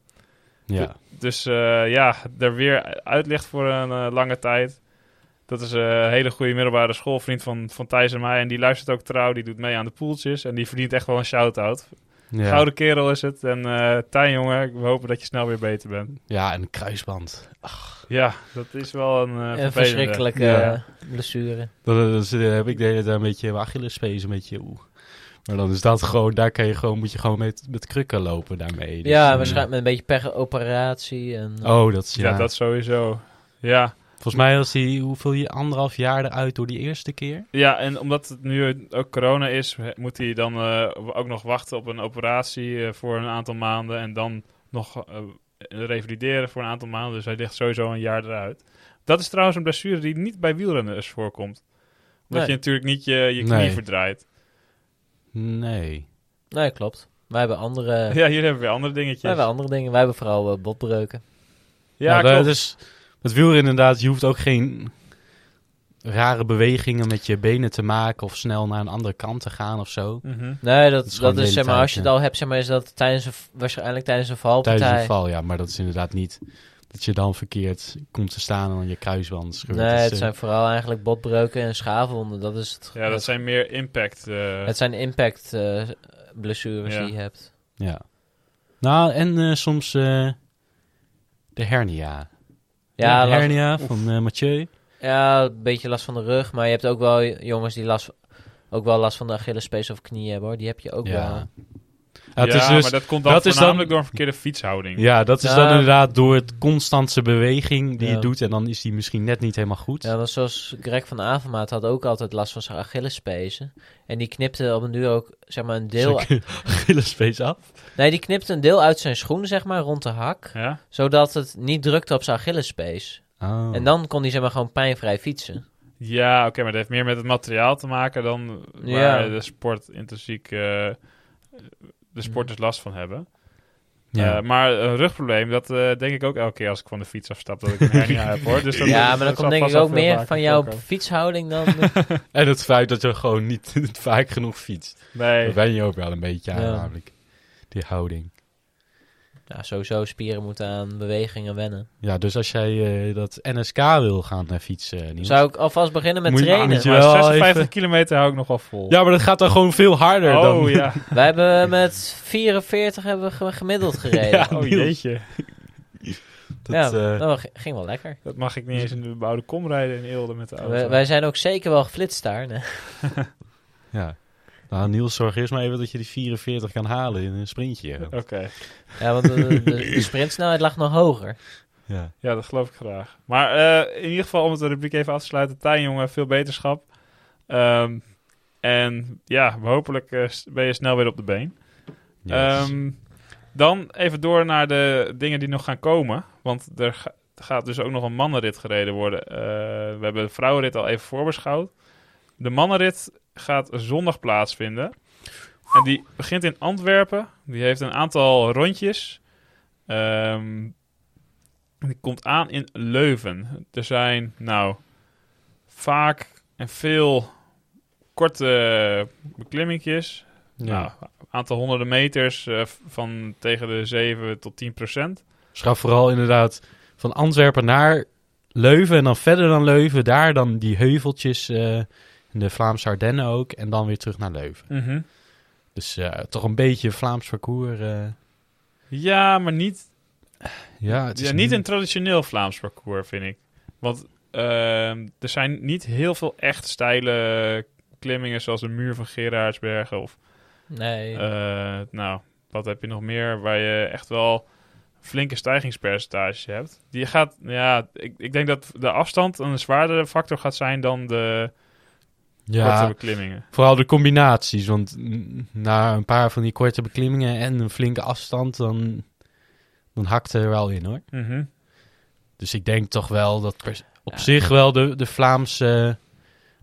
Ja.
dus eh, ja, er weer uit ligt voor een eh, lange tijd. Dat is eh, een hele goede middelbare schoolvriend van, van Thijs en mij. En die luistert ook trouw, die doet mee aan de poeltjes. En die verdient echt wel een shout-out.
Ja.
Gouden kerel is het. En eh Tijn, jongen, we hopen dat je snel weer beter bent.
ja, en een kruisband.
Ja, dat is wel een, eh,
een
vervelende.
verschrikkelijke
Ja.
eh, blessure.
Dan, dan- dan zit- dan heb ik de hele tijd een beetje mijn Achillespees een beetje oeh. Maar dan is dat gewoon, daar kan je gewoon, moet je gewoon met, met krukken lopen daarmee. Dus,
ja,
eh,
waarschijnlijk met een beetje pech operatie. En,
Oh, dat is,
Ja,
ja.
dat sowieso. Ja.
Volgens mij was hij, hoeveel, je- anderhalf jaar eruit door die eerste keer?
Ja, en omdat het nu ook corona is, he- moet hij dan eh, ook nog wachten op een operatie eh, voor een aantal maanden. En dan nog eh, revalideren voor een aantal maanden. Dus hij ligt sowieso een jaar eruit. Dat is trouwens een blessure die niet bij wielrenners voorkomt. Omdat
Nee.
je natuurlijk niet je, je knie
Nee.
verdraait.
Nee.
Nee, klopt. Wij hebben andere, wij
Ja, hier hebben we weer andere dingetjes.
hebben andere dingen. Wij hebben vooral eh, botbreuken.
Ja,
Nou, dat-
klopt.
Dus met wielrennen inderdaad, je hoeft ook geen rare bewegingen met je benen te maken of snel naar een andere kant te gaan of zo.
Mhm.
Nee, dat,
is
dat,
gewoon de
is
hele
zeg maar,
tijd,
als je het
ja.
al hebt, zeg maar, is dat tijdens een, v- waarschijnlijk tijdens een valpartij.
Tijdens een val, ja, maar dat is inderdaad niet dat je dan verkeerd komt te staan en dan je kruisband scheurt.
Nee,
Dat is,
het
eh,
zijn vooral eigenlijk botbreuken en schaafwonden. Dat is het.
Ja, dat
het,
zijn meer impact. eh,
het zijn impact eh, blessures
Ja.
die je hebt.
Ja. Nou, en eh, soms eh, de hernia.
Ja,
de
last-
hernia van eh, Mathieu.
ja, een beetje last van de rug. Maar je hebt ook wel jongens die last, ook wel last van de Achillespees of knieën hebben hoor. Die heb je ook wel.
Ja.
ja,
Ja, het is dus,
maar dat komt dan
dat is dan-
voornamelijk door een verkeerde fietshouding.
ja, dat is
Ja.
dan inderdaad door het constante beweging die
Ja.
je doet. En dan is die misschien net niet helemaal goed.
Ja, want zoals Greg van Avermaat had ook altijd last van zijn Achillespezen. En die knipte op een duur ook, zeg maar, een
Dus
deel...
Achillespees af.
Nee, die knipte een deel uit zijn schoen, zeg maar, rond de hak.
Ja?
Zodat het niet drukte op zijn Achillespees.
Oh.
En dan kon hij, zeg maar, gewoon pijnvrij fietsen.
Ja, oké, maar dat heeft meer met het materiaal te maken dan waar
Ja.
de sport intrinsiek eh, de sporters last van hebben.
Ja.
Eh, maar een rugprobleem, dat eh, denk ik ook elke keer als ik van de fiets afstap dat ik een hernia heb hoor. Dus dat,
ja, maar dat
zal
komt denk
vast
ik
wel
ook
veel
meer
vaker
van jouw
voorkomen.
fietshouding dan...
En het feit dat je gewoon niet, niet vaak genoeg fietst.
Nee,
Daar ben je ook wel een beetje aan
Ja.
namelijk. Die houding.
ja, sowieso spieren moeten aan bewegingen wennen.
Ja, dus als jij eh, dat NSK wil gaan eh, fietsen, Niels,
Zou ik alvast beginnen met
Moet je-
trainen?
moet je-
maar
wel
56
even-
kilometer hou ik nog wel vol.
Ja, maar dat gaat dan gewoon veel harder dan...
oh ja,
Wij hebben eh, met 44 hebben we ge- gemiddeld gereden.
Ja,
ja,
oh
Niels.
jeetje.
Dat, eh,
dat g- ging wel lekker.
Dat mag ik niet eens in de bouwde kom rijden in Eelde met de auto.
We- wij zijn ook zeker wel geflitst daar. Nee.
Ja. Nou, Niels, zorg eerst maar even dat je die 44 kan halen in een sprintje.
Oké,
Ja, want de, de- de sprintsnelheid lag nog hoger.
Ja.
ja, dat geloof ik graag. Maar eh, in ieder geval, om het rubriek even af te sluiten, Tijn jongen, veel beterschap. Ehm, En ja, hopelijk eh, s- ben je snel weer op de been.
Yes.
Ehm, dan even door naar de dingen die nog gaan komen. Want er ga- gaat dus ook nog een mannenrit gereden worden. Eh, we hebben de vrouwenrit al even voorbeschouwd. De mannenrit gaat zondag plaatsvinden. En die begint in Antwerpen. Die heeft een aantal rondjes. Ehm, die komt aan in Leuven. Er zijn nou vaak en veel korte beklimmingjes.
ja.
Nou, aantal honderden meters eh, v- van tegen de 7 tot 10 procent.
Dus ga vooral inderdaad van Antwerpen naar Leuven en dan verder dan Leuven. Daar dan die heuveltjes eh, in de Vlaamse Ardennen ook. En dan weer terug naar Leuven. Dus eh, toch een beetje Vlaams parcours. eh.
Ja, maar niet,
ja, het is
ja, niet een traditioneel Vlaams parcours, vind ik. Want ehm, er zijn niet heel veel echt steile klimmingen, zoals de muur van Gerardsbergen of
Nee.
Eh, nou, wat heb je nog meer waar je echt wel flinke stijgingspercentages hebt? Die gaat, ja, ik, ik denk dat de afstand een zwaardere factor gaat zijn dan de korte
Ja,
beklimmingen.
vooral de combinaties. Want mm, na een paar van die korte beklimmingen en een flinke afstand, dan, dan hakt er wel in hoor.
Mhm.
Dus ik denk toch wel dat pers- op
Ja.
zich wel de, de Vlaamse...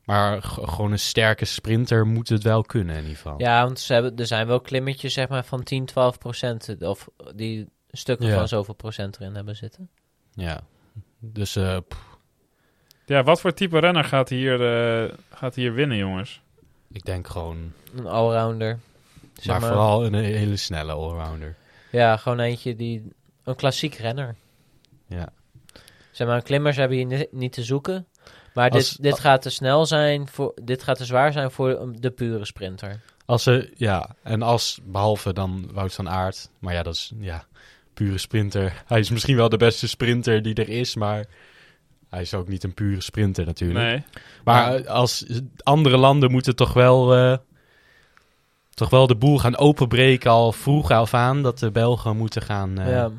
Maar g- gewoon een sterke sprinter moet het wel kunnen in ieder geval.
Ja, want ze hebben, er zijn wel klimmetjes zeg maar, van 10, 12 procent. Of die stukken
Ja.
van zoveel procent erin hebben zitten.
Ja. Dus eh, pff,
Ja, wat voor type renner gaat hier, eh, gaat hier winnen, jongens?
ik denk gewoon...
Een allrounder. Zeg
maar, vooral een hele snelle allrounder.
Ja, gewoon eentje die... Een klassiek renner.
Ja.
Zeg maar, klimmers hebben hier ni- niet te zoeken. Maar dit,
Als-
dit gaat te snel zijn, voor, dit gaat te zwaar zijn voor um, de pure sprinter.
Als ze, ja, en als, behalve dan Wout van Aert. Maar ja, dat is, ja, pure sprinter. Hij is misschien wel de beste sprinter die er is, maar... Hij is ook niet een pure sprinter natuurlijk.
Nee.
Maar eh, als andere landen moeten toch wel, eh, toch wel de boel gaan openbreken al vroeg af aan. Dat de Belgen moeten gaan... eh,
Ja.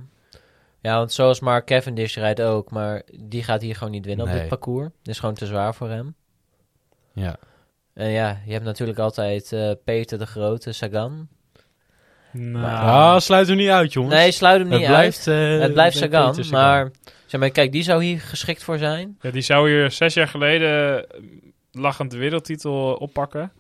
ja, want zoals Mark Cavendish rijdt ook, maar die gaat hier gewoon niet winnen op
Nee.
dit parcours. Dit is gewoon te zwaar voor hem.
ja.
En ja, je hebt natuurlijk altijd eh, Peter de Grote, Sagan.
Nou,
Ah, sluit hem niet uit, jongens.
Nee, sluit hem niet
het blijft,
uit.
eh,
het blijft
bij
Sagan,
Peter Sagan.
maar zeg maar, kijk, die zou hier geschikt voor zijn.
ja, die zou hier zes jaar geleden eh, lachend de wereldtitel eh, oppakken.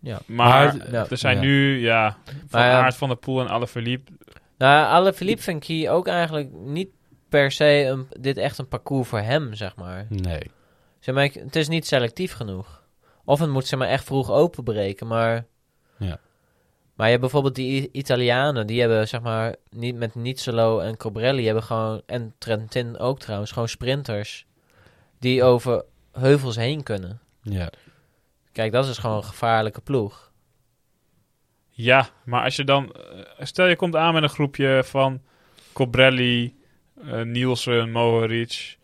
Ja.
Maar,
Maar-
Ja.
er zijn
Ja.
nu, ja, Van
Maar ja.
Aert, Van der Poel en Alaphilippe.
Nou, Alaphilippe vind ik hier ook eigenlijk niet per se een, dit echt een parcours voor hem, zeg maar.
Nee.
Zeg maar, ik- het is niet selectief genoeg. Of het moet zeg maar echt vroeg openbreken, maar...
Ja.
Maar je hebt bijvoorbeeld die I- Italianen, die hebben zeg maar... Niet, met Nizzolo en Cobrelli hebben gewoon... En Trentin ook trouwens, gewoon sprinters. Die over heuvels heen kunnen.
Ja.
Kijk, dat is dus gewoon een gevaarlijke ploeg.
Ja, maar als je dan... eh, Stel, je komt aan met een groepje van Cobrelli, eh, Nielsen, Mohoric.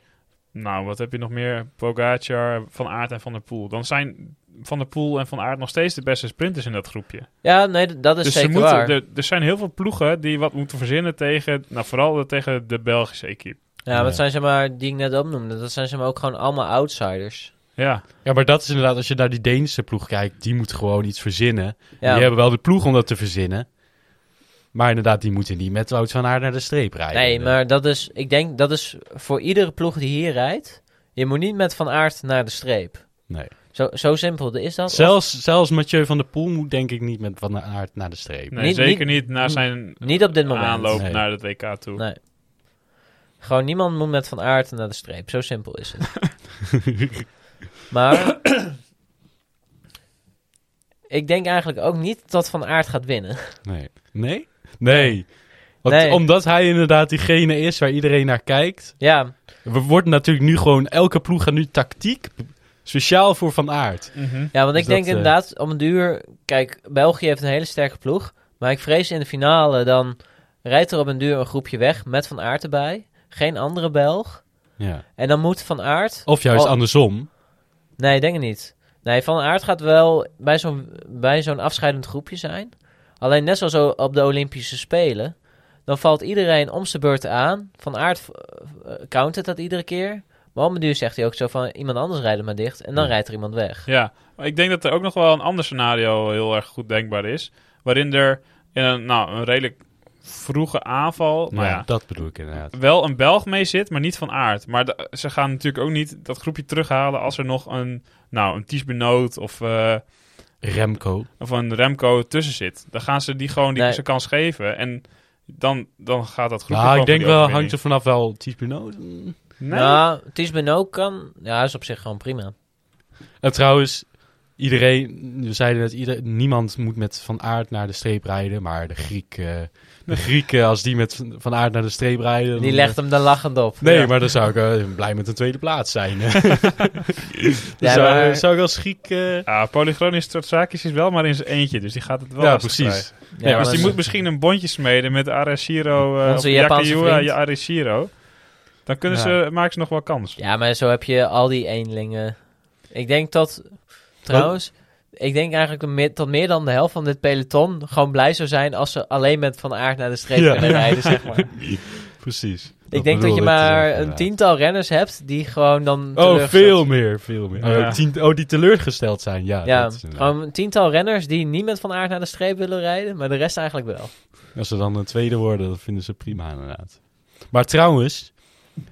Nou, wat heb je nog meer? Pogacar, Van Aert en Van der Poel. Dan zijn Van der Poel en Van Aert nog steeds de beste sprinters in dat groepje.
Ja, nee, d- dat is
dus ze
zeker
moeten,
waar.
er, er zijn heel veel ploegen die wat moeten verzinnen tegen... Nou, vooral tegen de Belgische equipe.
Ja, maar
Ja.
het zijn zeg maar... Die ik net opnoemde, dat zijn zeg maar ook gewoon allemaal outsiders.
Ja,
ja, maar dat is inderdaad, als je naar die Deense ploeg kijkt, die moet gewoon iets verzinnen.
Ja,
Die hebben wel de ploeg om dat te verzinnen. Maar inderdaad, die moeten niet met Wout van Aert naar de streep rijden.
Nee, maar dat is, ik denk, dat is voor iedere ploeg die hier rijdt. Je moet niet met Van Aert naar de streep.
Nee.
Zo, zo simpel is dat.
Zelfs, zelfs Mathieu van der Poel moet denk ik niet met Van Aert naar de streep.
nee,
Niet-
zeker niet, na zijn
Niet op dit moment.
aanloop
Nee.
naar het WK toe.
Nee. Gewoon niemand moet met Van Aert naar de streep. Zo simpel is het. maar ik denk eigenlijk ook niet dat Van Aert gaat winnen.
Nee. Nee? Nee. Want,
Nee.
Omdat hij inderdaad diegene is waar iedereen naar kijkt.
Ja,
We worden natuurlijk nu gewoon, elke ploeg gaat nu tactiek speciaal voor Van Aert.
Mhm.
ja want
Dus
ik denk
dat, eh,
inderdaad om een duur... Kijk, België heeft een hele sterke ploeg. Maar ik vrees in de finale dan rijdt er op een duur een groepje weg met Van Aert erbij. Geen andere Belg.
Ja.
En dan moet Van Aert...
Of juist
Oh.
andersom.
Nee, ik denk het niet. Nee, Van Aert gaat wel bij zo'n, bij zo'n afscheidend groepje zijn. Alleen net zoals o- op de Olympische Spelen... dan valt iedereen om zijn beurt aan. Van Aert eh, countert dat iedere keer. Maar op een duur zegt hij ook zo van, iemand anders rijdt hem maar dicht. En dan rijdt er iemand weg.
Ja, maar ik denk dat er ook nog wel een ander scenario heel erg goed denkbaar is. Waarin er in een, nou, een redelijk vroege aanval, nou ja,
dat bedoel ik inderdaad.
wel een Belg mee zit, maar niet van aard. Maar de- ze gaan natuurlijk ook niet dat groepje terughalen als er nog een, nou, een Ties Benoot of, eh,
Remco.
of een Remco tussen zit. Dan gaan ze die gewoon die
Nee.
ze kans geven. En dan, dan gaat dat groepje
Nou, ik
gewoon voor
denk
die
wel, hangt er
overwinning.
vanaf wel Ties Benoot. Mm.
Nee.
Nou, Ties ook kan... Ja, is op zich gewoon prima.
En Nou, trouwens, iedereen, we zeiden dat ieder, niemand moet met Van Aert naar de streep rijden. Maar de Griek, eh, de Griek eh, als die met Van Aert naar de streep rijden... dan,
Die
eh,
legt hem dan lachend op.
Nee,
Ja.
maar dan zou ik eh, blij met een tweede plaats zijn. Dan zou,
maar-
zou ik als Griek... eh,
Ja, Polychronisch Stratzakis is wel maar in zijn eentje, dus die gaat het wel
ja,
lastig krijgen.
precies.
Ja,
Ja,
maar
dus die
ze-
moet misschien een bondje smeden met Arashiro. eh,
Onze
of
Japanse
Yakiura
vriend.
Ja, Arashiro. Dan kunnen
Ja.
ze, maken ze nog wel kans.
Ja, maar zo heb je al die eenlingen. Ik denk dat, trouwens, ik denk eigenlijk dat meer, dat meer dan de helft van dit peloton gewoon blij zou zijn als ze alleen met Van Aert naar de streep
Ja.
kunnen rijden, zeg maar.
Precies.
ik denk dat
bedoel
je
ik
maar
inderdaad.
een tiental renners hebt die gewoon dan
Oh,
teleurgesteld-
veel meer, veel meer.
Ja.
Oh, tien- oh, die teleurgesteld zijn, ja.
Ja,
dat is inderdaad.
gewoon een tiental renners die niet met Van Aert naar de streep willen rijden, maar de rest eigenlijk wel.
Als ze dan een tweede worden, dat vinden ze prima inderdaad. Maar trouwens,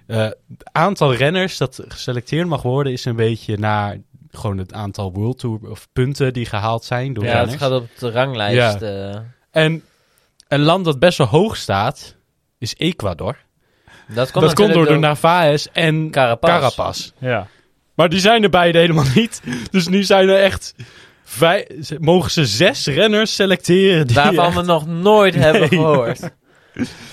eh, het aantal renners dat geselecteerd mag worden... is een beetje naar gewoon het aantal World Tour of punten die gehaald zijn door
Ja,
renners.
het gaat op de ranglijst. eh,
En een land dat best wel hoog staat, is Ecuador.
dat komt,
dat komt door,
natuurlijk
de Narvaez en
Carapaz.
Carapaz.
Ja.
Maar die zijn er beide helemaal niet. Dus nu zijn er echt... vij- ze- mogen ze zes renners selecteren. Die
Waarvan
echt-
we nog nooit hebben
Nee.
gehoord.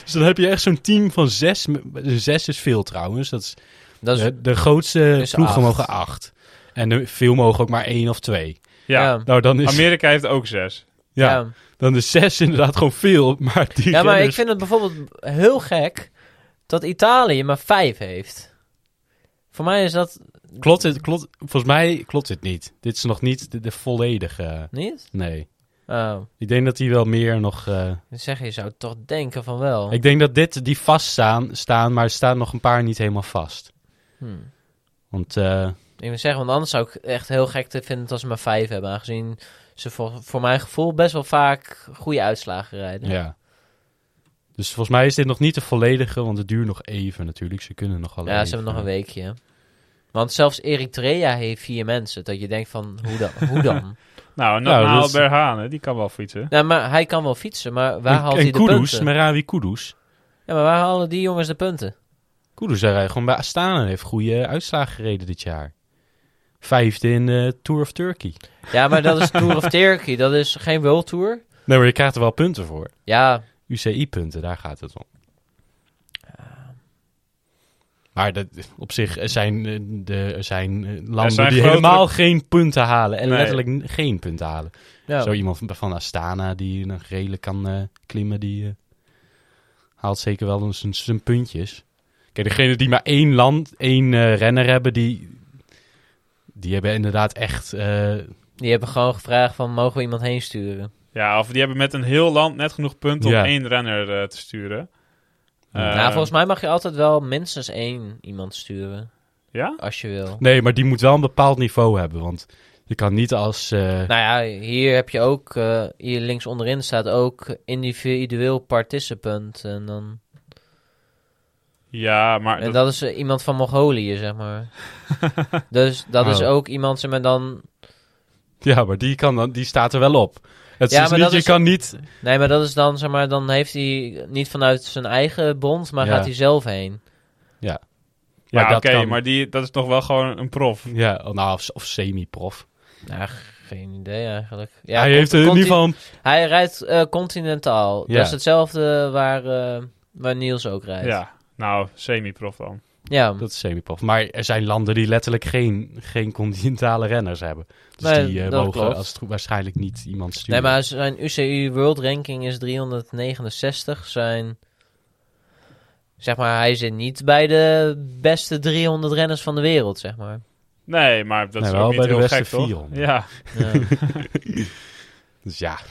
Dus dan heb je echt zo'n team van zes. m- Zes is veel trouwens. Dat is,
Dat is,
Eh, de, de grootste
is
ploegen
acht.
mogen acht. En de, veel mogen ook maar één of twee.
Ja.
ja.
Nou, dan is,
Amerika heeft ook zes.
ja,
ja.
dan is zes inderdaad gewoon veel. Maar die
Ja, maar ik
renners-
vind het bijvoorbeeld heel gek dat Italië maar vijf heeft. Voor mij is dat
klopt het, klopt, volgens mij klopt dit niet. Dit is nog niet de, de volledige. eh,
niet.
Nee.
Oh,
Ik denk dat die wel meer nog... eh,
dan zeg je, je zou toch denken van wel.
Ik denk dat dit, die vaststaan, staan, maar er staan nog een paar niet helemaal vast.
Hmm.
Want eh,
Ik wil zeggen, want anders zou ik echt heel gek te vinden als ze maar vijf hebben. Aangezien ze voor, voor mijn gevoel best wel vaak goede uitslagen rijden.
ja. Dus volgens mij is dit nog niet de volledige, want het duurt nog even natuurlijk. Ze kunnen nog wel eh.
Ja, ze hebben nog een weekje. Want zelfs Eritrea heeft vier mensen. Dat je denkt van, hoe dan? Hoe dan?
Nou, en
Nou,
dan
dat is-
Berhane, die kan wel fietsen.
nou, maar hij kan wel fietsen, maar waar haalt
en,
hij
en
de
Kudus,
punten?
Merawi Kudus.
Ja, maar waar halen die jongens de punten?
Kudus hij rijdt gewoon bij Astana en heeft goede uitslagen gereden dit jaar. Vijfde in eh Tour of Turkey.
Ja, maar dat is Tour of Turkey. Dat is geen World Tour.
Nee, maar je krijgt er wel punten voor.
Ja,
UCI-punten, daar gaat het om. Maar dat, op zich er zijn, eh, de, er zijn eh, landen
zijn
die
grotere-
helemaal geen punten halen. En
Nee.
letterlijk n- geen punten halen.
ja.
Zo iemand van, van Astana die nog redelijk kan eh, klimmen, die eh, haalt zeker wel eens zijn- zijn puntjes. Kijk, degene die maar één land, één eh, renner hebben, die, die hebben inderdaad echt... eh,
Die hebben gewoon gevraagd van, mogen we iemand heen sturen?
Ja, of die hebben met een heel land net genoeg punten
Ja.
om één renner eh, te sturen. Eh,
nou, volgens mij mag je altijd wel minstens één iemand sturen,
Eh, Ja?
als je wil.
nee, maar die moet wel een bepaald niveau hebben, want je kan niet als... eh,
Nou ja, hier heb je ook, eh, hier links onderin staat ook individueel participant. En, dan,
Ja, maar
en
dat,
dat is eh, iemand van Mongolië, zeg maar. dus dat is
Oh.
ook iemand, zeg maar dan...
Ja, maar die, kan dan, die staat er wel op. Het
Ja,
is
maar
niet,
dat
je
is-
kan niet...
Nee, maar dat is dan, zeg maar, dan heeft hij niet vanuit zijn eigen bond, maar
Ja.
gaat hij zelf heen.
ja,
maar dat
oké,
kan-
maar die, dat is toch wel gewoon een prof.
Ja, oh, nou, of, of semi-prof.
Nou, geen idee eigenlijk. Ja,
hij
komt-
heeft in
komt
ieder
hij-
geval... een-
Hij rijdt eh, continentaal.
Ja.
Dat is hetzelfde waar, eh, waar Niels ook rijdt.
Ja, nou, semi-prof dan.
ja.
Hm. Dat is semi-prof. Maar er zijn landen die letterlijk geen, geen continentale renners hebben. Dus
Nee,
die eh,
dat
mogen
klopt.
als het goed- waarschijnlijk niet iemand
nee,
sturen.
maar zijn UCI World Ranking is 369. Zijn, zeg maar, hij zit niet bij de beste 300 renners van de wereld, zeg maar.
Nee, maar dat is
Nee, wel
ook niet
bij de
heel
beste
gek, toch?
400.
Ja.
Ja.
Dus ja,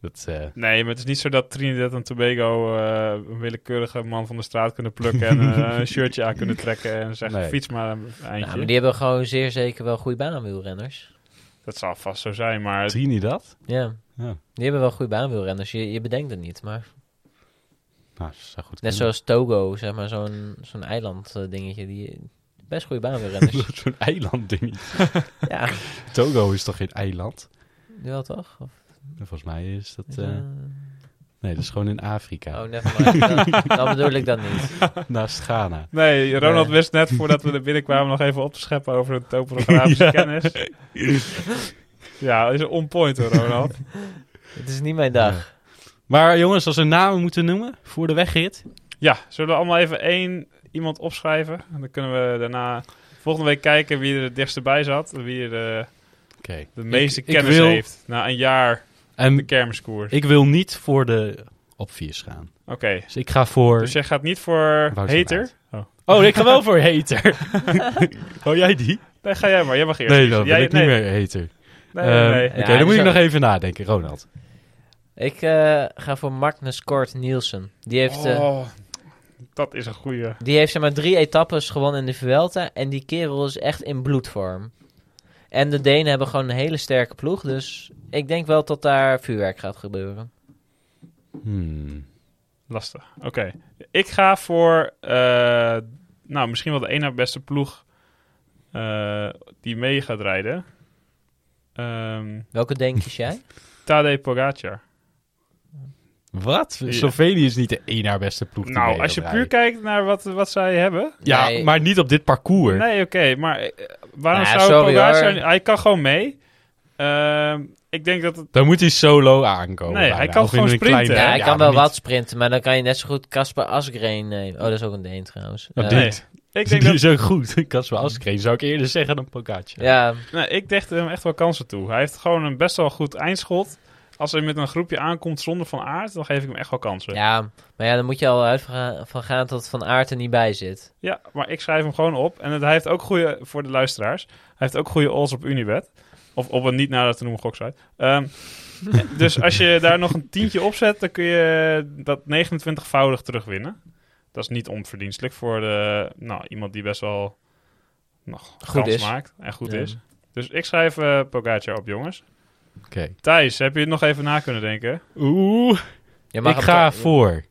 Dat, eh,
Nee, maar het is niet zo dat Trinidad en Tobago eh, een willekeurige man van de straat kunnen plukken en eh, een shirtje aan kunnen trekken en zeggen
Nee.
fiets maar een eindje.
Nou, maar die hebben gewoon zeer zeker wel goede baanwielrenners.
Dat zal vast zo zijn, maar het-
zie je dat?
Ja.
Ja.
Die hebben wel goede baanwielrenners. Je, je bedenkt het niet, maar...
Nou, dat zou goed
Net
kunnen.
zoals Togo, zeg maar, zo'n zo'n eiland eh, dingetje. Die, best goede baanwielrenners.
Zo'n eiland ding.
ja,
Togo is toch geen eiland?
wel toch? Of,
Volgens mij is dat...
is,
eh,
eh,
nee, dat is gewoon in Afrika.
Oh, nevermind. Dan- dan bedoel ik dat niet.
Naast Ghana.
Nee, Ronald
Nee.
wist net voordat we er binnenkwamen nog even op te scheppen over de topografische kennis. Ja, dat is on point hoor, Ronald.
Het is niet mijn dag.
Maar jongens, als we namen moeten noemen voor de wegrit...
Ja, zullen we allemaal even één iemand opschrijven? En dan kunnen we daarna volgende week kijken wie er het dichtst bij zat. Wie er de,
Oké.
de meeste
ik
kennis
wil-
heeft na een jaar de
En
kermiskoers.
ik wil niet voor de opviers gaan.
Oké,
Dus ik ga voor...
dus jij gaat niet voor
van
hater?
Aert.
Oh.
Oh, ik ga wel voor hater. oh, jij die?
Nee, ga jij maar. Jij mag eerst.
Nee, dat
jij,
ben ik niet
nee,
meer hater.
Nee, nee,
Ehm,
nee.
Oké,
Ja,
dan
die
moet ik
zou-
nog even nadenken, Ronald.
Ik eh, ga voor Magnus Kort Nielsen. Die heeft, eh,
Oh, dat is een goeie.
die heeft zeg maar drie etappes gewonnen in de Vuelta. En die kerel is echt in bloedvorm. En de Denen hebben gewoon een hele sterke ploeg. Dus ik denk wel dat daar vuurwerk gaat gebeuren.
Hmm.
Lastig. Oké. Ik ga voor, eh, nou, misschien wel de ene beste ploeg eh, die mee gaat rijden. Ehm
Welke denkjes jij?
Tadej Pogacar.
Wat?
Ja.
Slovenië is niet de één naar beste ploeg. die mee
Nou,
wil
als je
rijden.
puur kijkt naar wat, wat zij hebben.
Ja,
Nee,
maar niet op dit parcours.
Nee, oké. maar eh, waarom
Nou ja,
zou
sorry,
Pogacar...
hoor.
Hij kan gewoon mee. Ehm, ik denk dat het...
Dan moet hij solo aankomen.
Nee, hij kan
Of in
gewoon
een
sprinten,
kleine-
hè?
Ja, ik kan wel
maar niet-
wat sprinten, maar dan kan je net zo goed Casper Asgreen nemen. Oh, dat is ook een Deen trouwens.
Oh,
Eh,
dit.
Nee, Ik denk
die
dat...
is ook goed. Kasper Askreen zou ik eerder zeggen dan Pogacar.
ja,
Nee, ik dacht hem echt wel kansen toe. Hij heeft gewoon een best wel goed eindschot. Als hij met een groepje aankomt zonder Van Aert, dan geef ik hem echt wel kansen.
ja, maar ja, dan moet je al uit van- van gaan dat Van Aert er niet bij zit.
Ja, maar ik schrijf hem gewoon op. En het, hij heeft ook goede, voor de luisteraars, hij heeft ook goede odds op Unibet. Of op een niet nader te noemen goksite. Ehm, dus als je daar nog een tientje op zet, dan kun je dat 29-voudig terugwinnen. Dat is niet onverdienstelijk voor de, nou, iemand die best wel nog
Goed
kans
is.
maakt en goed
Ja.
is. Dus ik schrijf eh Pogacar op, jongens.
Oké.
Thijs, heb je het nog even na kunnen denken?
Oeh.
Je mag
Ik
hem
ga
toch-
voor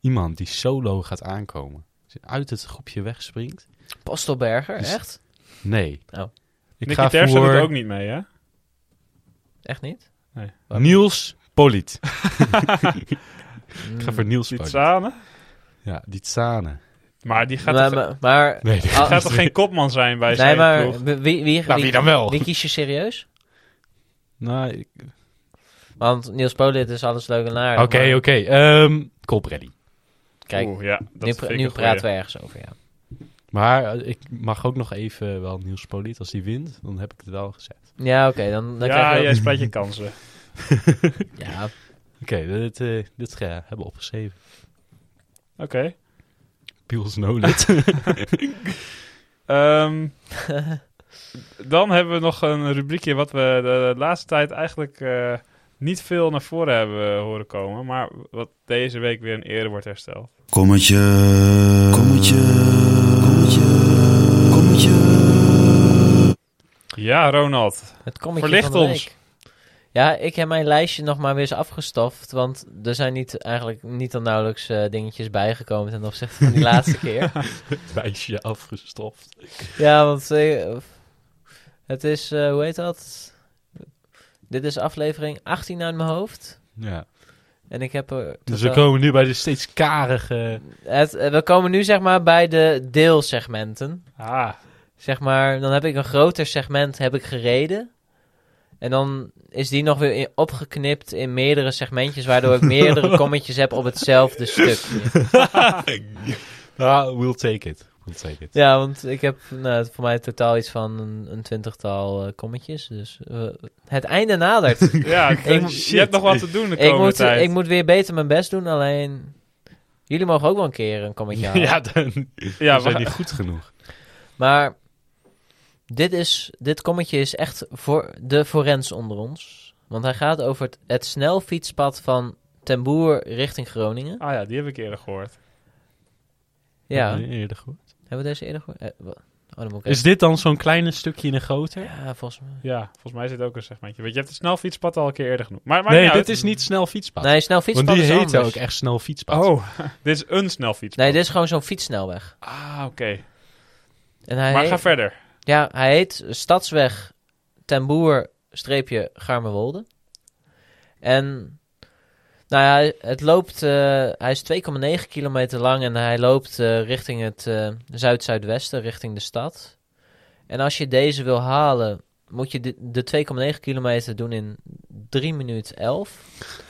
iemand die solo gaat aankomen. Dus uit het groepje wegspringt.
Postelberger,
Dus-
echt?
Nee.
Oh.
Ik
Nicky
ga
Terpstra
voor
doet ook niet mee, hè?
Echt niet?
Niels Poliet. Ik
Mm.
ga voor Niels
Die
Poliet.
Tsane.
Ja, die Tsane.
Maar die gaat,
maar,
toch,
maar, maar-
Nee, die-
Ah,
gaat toch geen kopman zijn bij
nee,
zijn
maar
ploeg?
wie, wie, wie,
Nou, wie
wie-
dan wel?
wie kies je serieus?
Nou, ik-
Want Niels Polit is alles leuk en aardig.
Oké,
maar-
oké. Ehm Colbrelli.
Kijk,
Oeh, ja, dat
nu,
vind
pra-
ik
nu
een
praten
goeie.
we ergens over, ja.
Maar eh, ik mag ook nog even wel Niels Poliet. Als die wint, dan heb ik het wel gezegd.
Ja, oké, dan, dan
Ja,
krijg je...
jij
ook-
splijt je kansen.
Ja,
Oké, dit, eh, dit eh, hebben we opgeschreven.
Oké.
Piels Nolet.
Ehm, dan hebben we nog een rubriekje wat we de, de laatste tijd eigenlijk eh, niet veel naar voren hebben eh, horen komen. Maar wat deze week weer in ere wordt hersteld.
Kommetje. Kommetje. Kommetje. Kommetje.
Ja, Ronald.
het kommetje
Verlicht
van de
ons.
week. Ja, ik heb mijn lijstje nog maar weer eens afgestoft, want er zijn niet, eigenlijk niet dan nauwelijks eh, dingetjes bijgekomen ten opzichte van die laatste keer.
Wijsje afgestoft.
Ja, want eh, het is, eh, hoe heet dat? Dit is aflevering 18 uit mijn hoofd.
Ja.
En ik heb er.
Dus we
totaal-
komen nu bij de steeds karige...
het, eh, we komen nu zeg maar bij de deelsegmenten.
Ah,
Zeg maar, dan heb ik een groter segment heb ik gereden. En dan is die nog weer in- opgeknipt in meerdere segmentjes, waardoor ik meerdere kommetjes heb op hetzelfde stukje.
Ah, we'll take it. We'll take it.
Ja, want ik heb nou, voor mij totaal iets van een, een twintigtal eh, kommetjes. Dus eh, het einde nadert.
ja, je
shit.
hebt nog wat te doen de komende
Ik moet,
tijd.
ik moet weer beter mijn best doen, alleen... Jullie mogen ook wel een keer een kommetje halen.
Ja,
ja,
dan, dan
we
zijn
gaan-
die goed genoeg.
Maar dit, is, dit kommetje is echt voor de forens onder ons. Want hij gaat over het, het snelfietspad van Ten Boer richting Groningen.
Ah ja, die heb ik eerder gehoord.
Ja,
Heb je eerder gehoord.
hebben we deze eerder gehoord? Eh, wa- oh, dan moet ik
Is dit dan zo'n kleine stukje in een groter?
even- Ja, volgens mij.
Ja, volgens mij zit ook een segmentje. Weet je, je hebt het snelfietspad al een keer eerder genoemd. Maar, maar
Nee, dit is niet snel fietspad.
Nee, snel
Want
fietspad
die
is
heet ook
anders.
echt snel fietspad.
Oh, dit is een snelfietspad.
Nee, dit is gewoon zo'n fietssnelweg.
Ah, oké.
En hij
Maar
heet,
ga verder.
ja, hij heet Stadsweg Ten Boer streepje Garmerwolde. En nou ja, het loopt, eh, hij is 2,9 kilometer lang en hij loopt eh, richting het eh, zuid-zuidwesten, richting de stad. En als je deze wil halen, moet je de, de 2,9 kilometer doen in 3 minuten 11.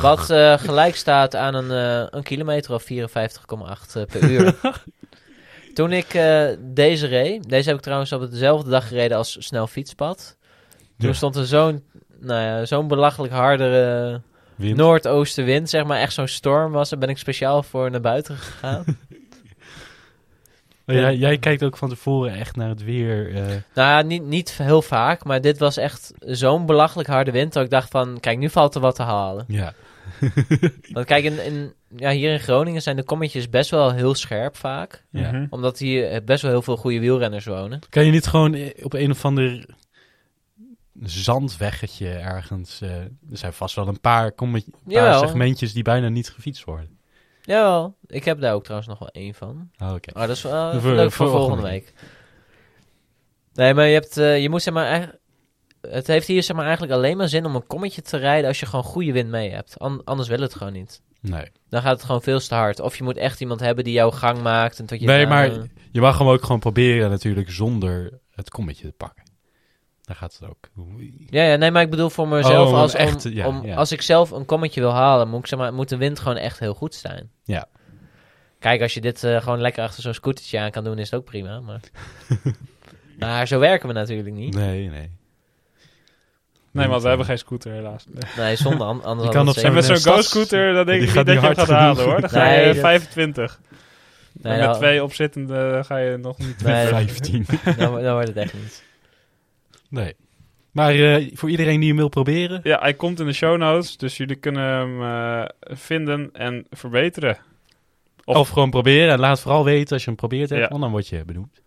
wat eh, gelijk staat aan een, eh, een kilometer of 54,8 eh, per uur. Toen ik eh, deze reed, deze heb ik trouwens op dezelfde dag gereden als snel fietspad. Toen
Ja.
stond er zo'n nou ja, zo'n belachelijk hardere...
Wind.
Noordoostenwind, zeg maar, echt zo'n storm was. Daar ben ik speciaal voor naar buiten gegaan.
Oh, jij, jij kijkt ook van tevoren echt naar het weer. eh.
nou ja, niet, niet heel vaak, maar dit was echt zo'n belachelijk harde wind. Dat ik dacht van, kijk, nu valt er wat te halen.
ja.
Want kijk, in, in, ja, hier in Groningen zijn de kommetjes best wel heel scherp vaak.
Ja.
Mhm.
Omdat hier eh, best wel heel veel goede wielrenners wonen.
Kan je niet gewoon eh, op een of ander zandweggetje ergens... eh, er zijn vast wel een paar, kommet- paar
Jawel.
segmentjes die bijna niet gefietst worden.
Jawel, ik heb daar ook trouwens nog wel één van.
Oh, Oké.
Maar dat is wel eh,
Voor-
leuk voor
voor
volgende
volgende
week. Nee, maar je, hebt, eh, je moet zeg maar... eigenlijk- Het heeft hier zeg maar eigenlijk alleen maar zin om een kommetje te rijden als je gewoon goede wind mee hebt. An- anders wil het gewoon niet.
Nee,
Dan gaat het gewoon veel te hard. Of je moet echt iemand hebben die jouw gang maakt. En tot je
nee
dan,
maar
eh,
je mag hem ook gewoon proberen natuurlijk zonder het kommetje te pakken. Daar gaat het ook.
ja, ja, nee, maar ik bedoel voor mezelf.
Oh, om
als, om-
echt- ja,
om-
ja.
als ik zelf een kommetje wil halen, moet, ik, zeg maar, moet de wind gewoon echt heel goed zijn.
Ja.
Kijk, als je dit eh, gewoon lekker achter zo'n scootertje aan kan doen, is het ook prima. Maar, maar zo werken we natuurlijk niet.
Nee, nee.
Nee, want we hebben geen scooter helaas. Nee.
Nee, zonder an- anders
Je
had
kan
het
op
En
zeker-
met zo'n
een stads-
go-scooter, dan denk
die
ik
gaat
niet dat
niet
je hem
hard
gaat halen
genoeg.
hoor. Dan ga je
Nee,
eh,
dat-
25.
Nee,
en
nou-
met twee opzittende ga je nog niet
Nee, dat-
15.
nou, nou wordt het echt niet.
Nee. Maar eh, voor iedereen die hem wil proberen...
Ja, hij komt in de show notes, dus jullie kunnen hem eh, vinden en verbeteren.
Of,
Of-
gewoon proberen. En laat vooral weten als je hem probeert hebt,
Ja.
want dan word je benoemd.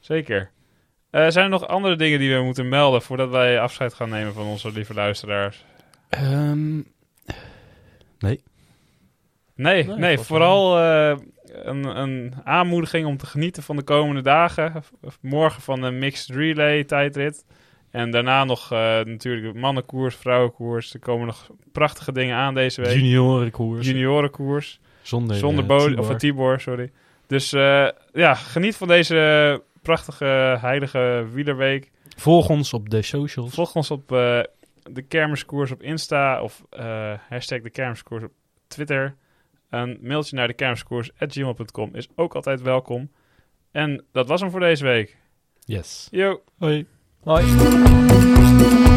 Zeker. Eh, zijn er nog andere dingen die we moeten melden voordat wij afscheid gaan nemen van onze lieve luisteraars? Nee,
Nee,
nee,
volgens mij
vooral eh, een, een aanmoediging om te genieten van de komende dagen. Of Morgen van een mixed relay tijdrit. En daarna nog eh, natuurlijk mannenkoers, vrouwenkoers. Er komen nog prachtige dingen aan deze week.
Juniorenkoers.
Juniorenkoers.
zonder
Zonder
eh,
bodem,
Tibor.
of eh, Tibor, sorry. Dus eh, ja, geniet van deze prachtige heilige wielerweek.
Volg ons op de socials.
Volg ons op eh, de kermiskoers op Insta of eh, hashtag de kermiskoers op Twitter. Een mailtje naar de kermiskoers.gmail.com is ook altijd welkom. En dat was hem voor deze week.
Yes.
Yo!
Hoi.
Hoi.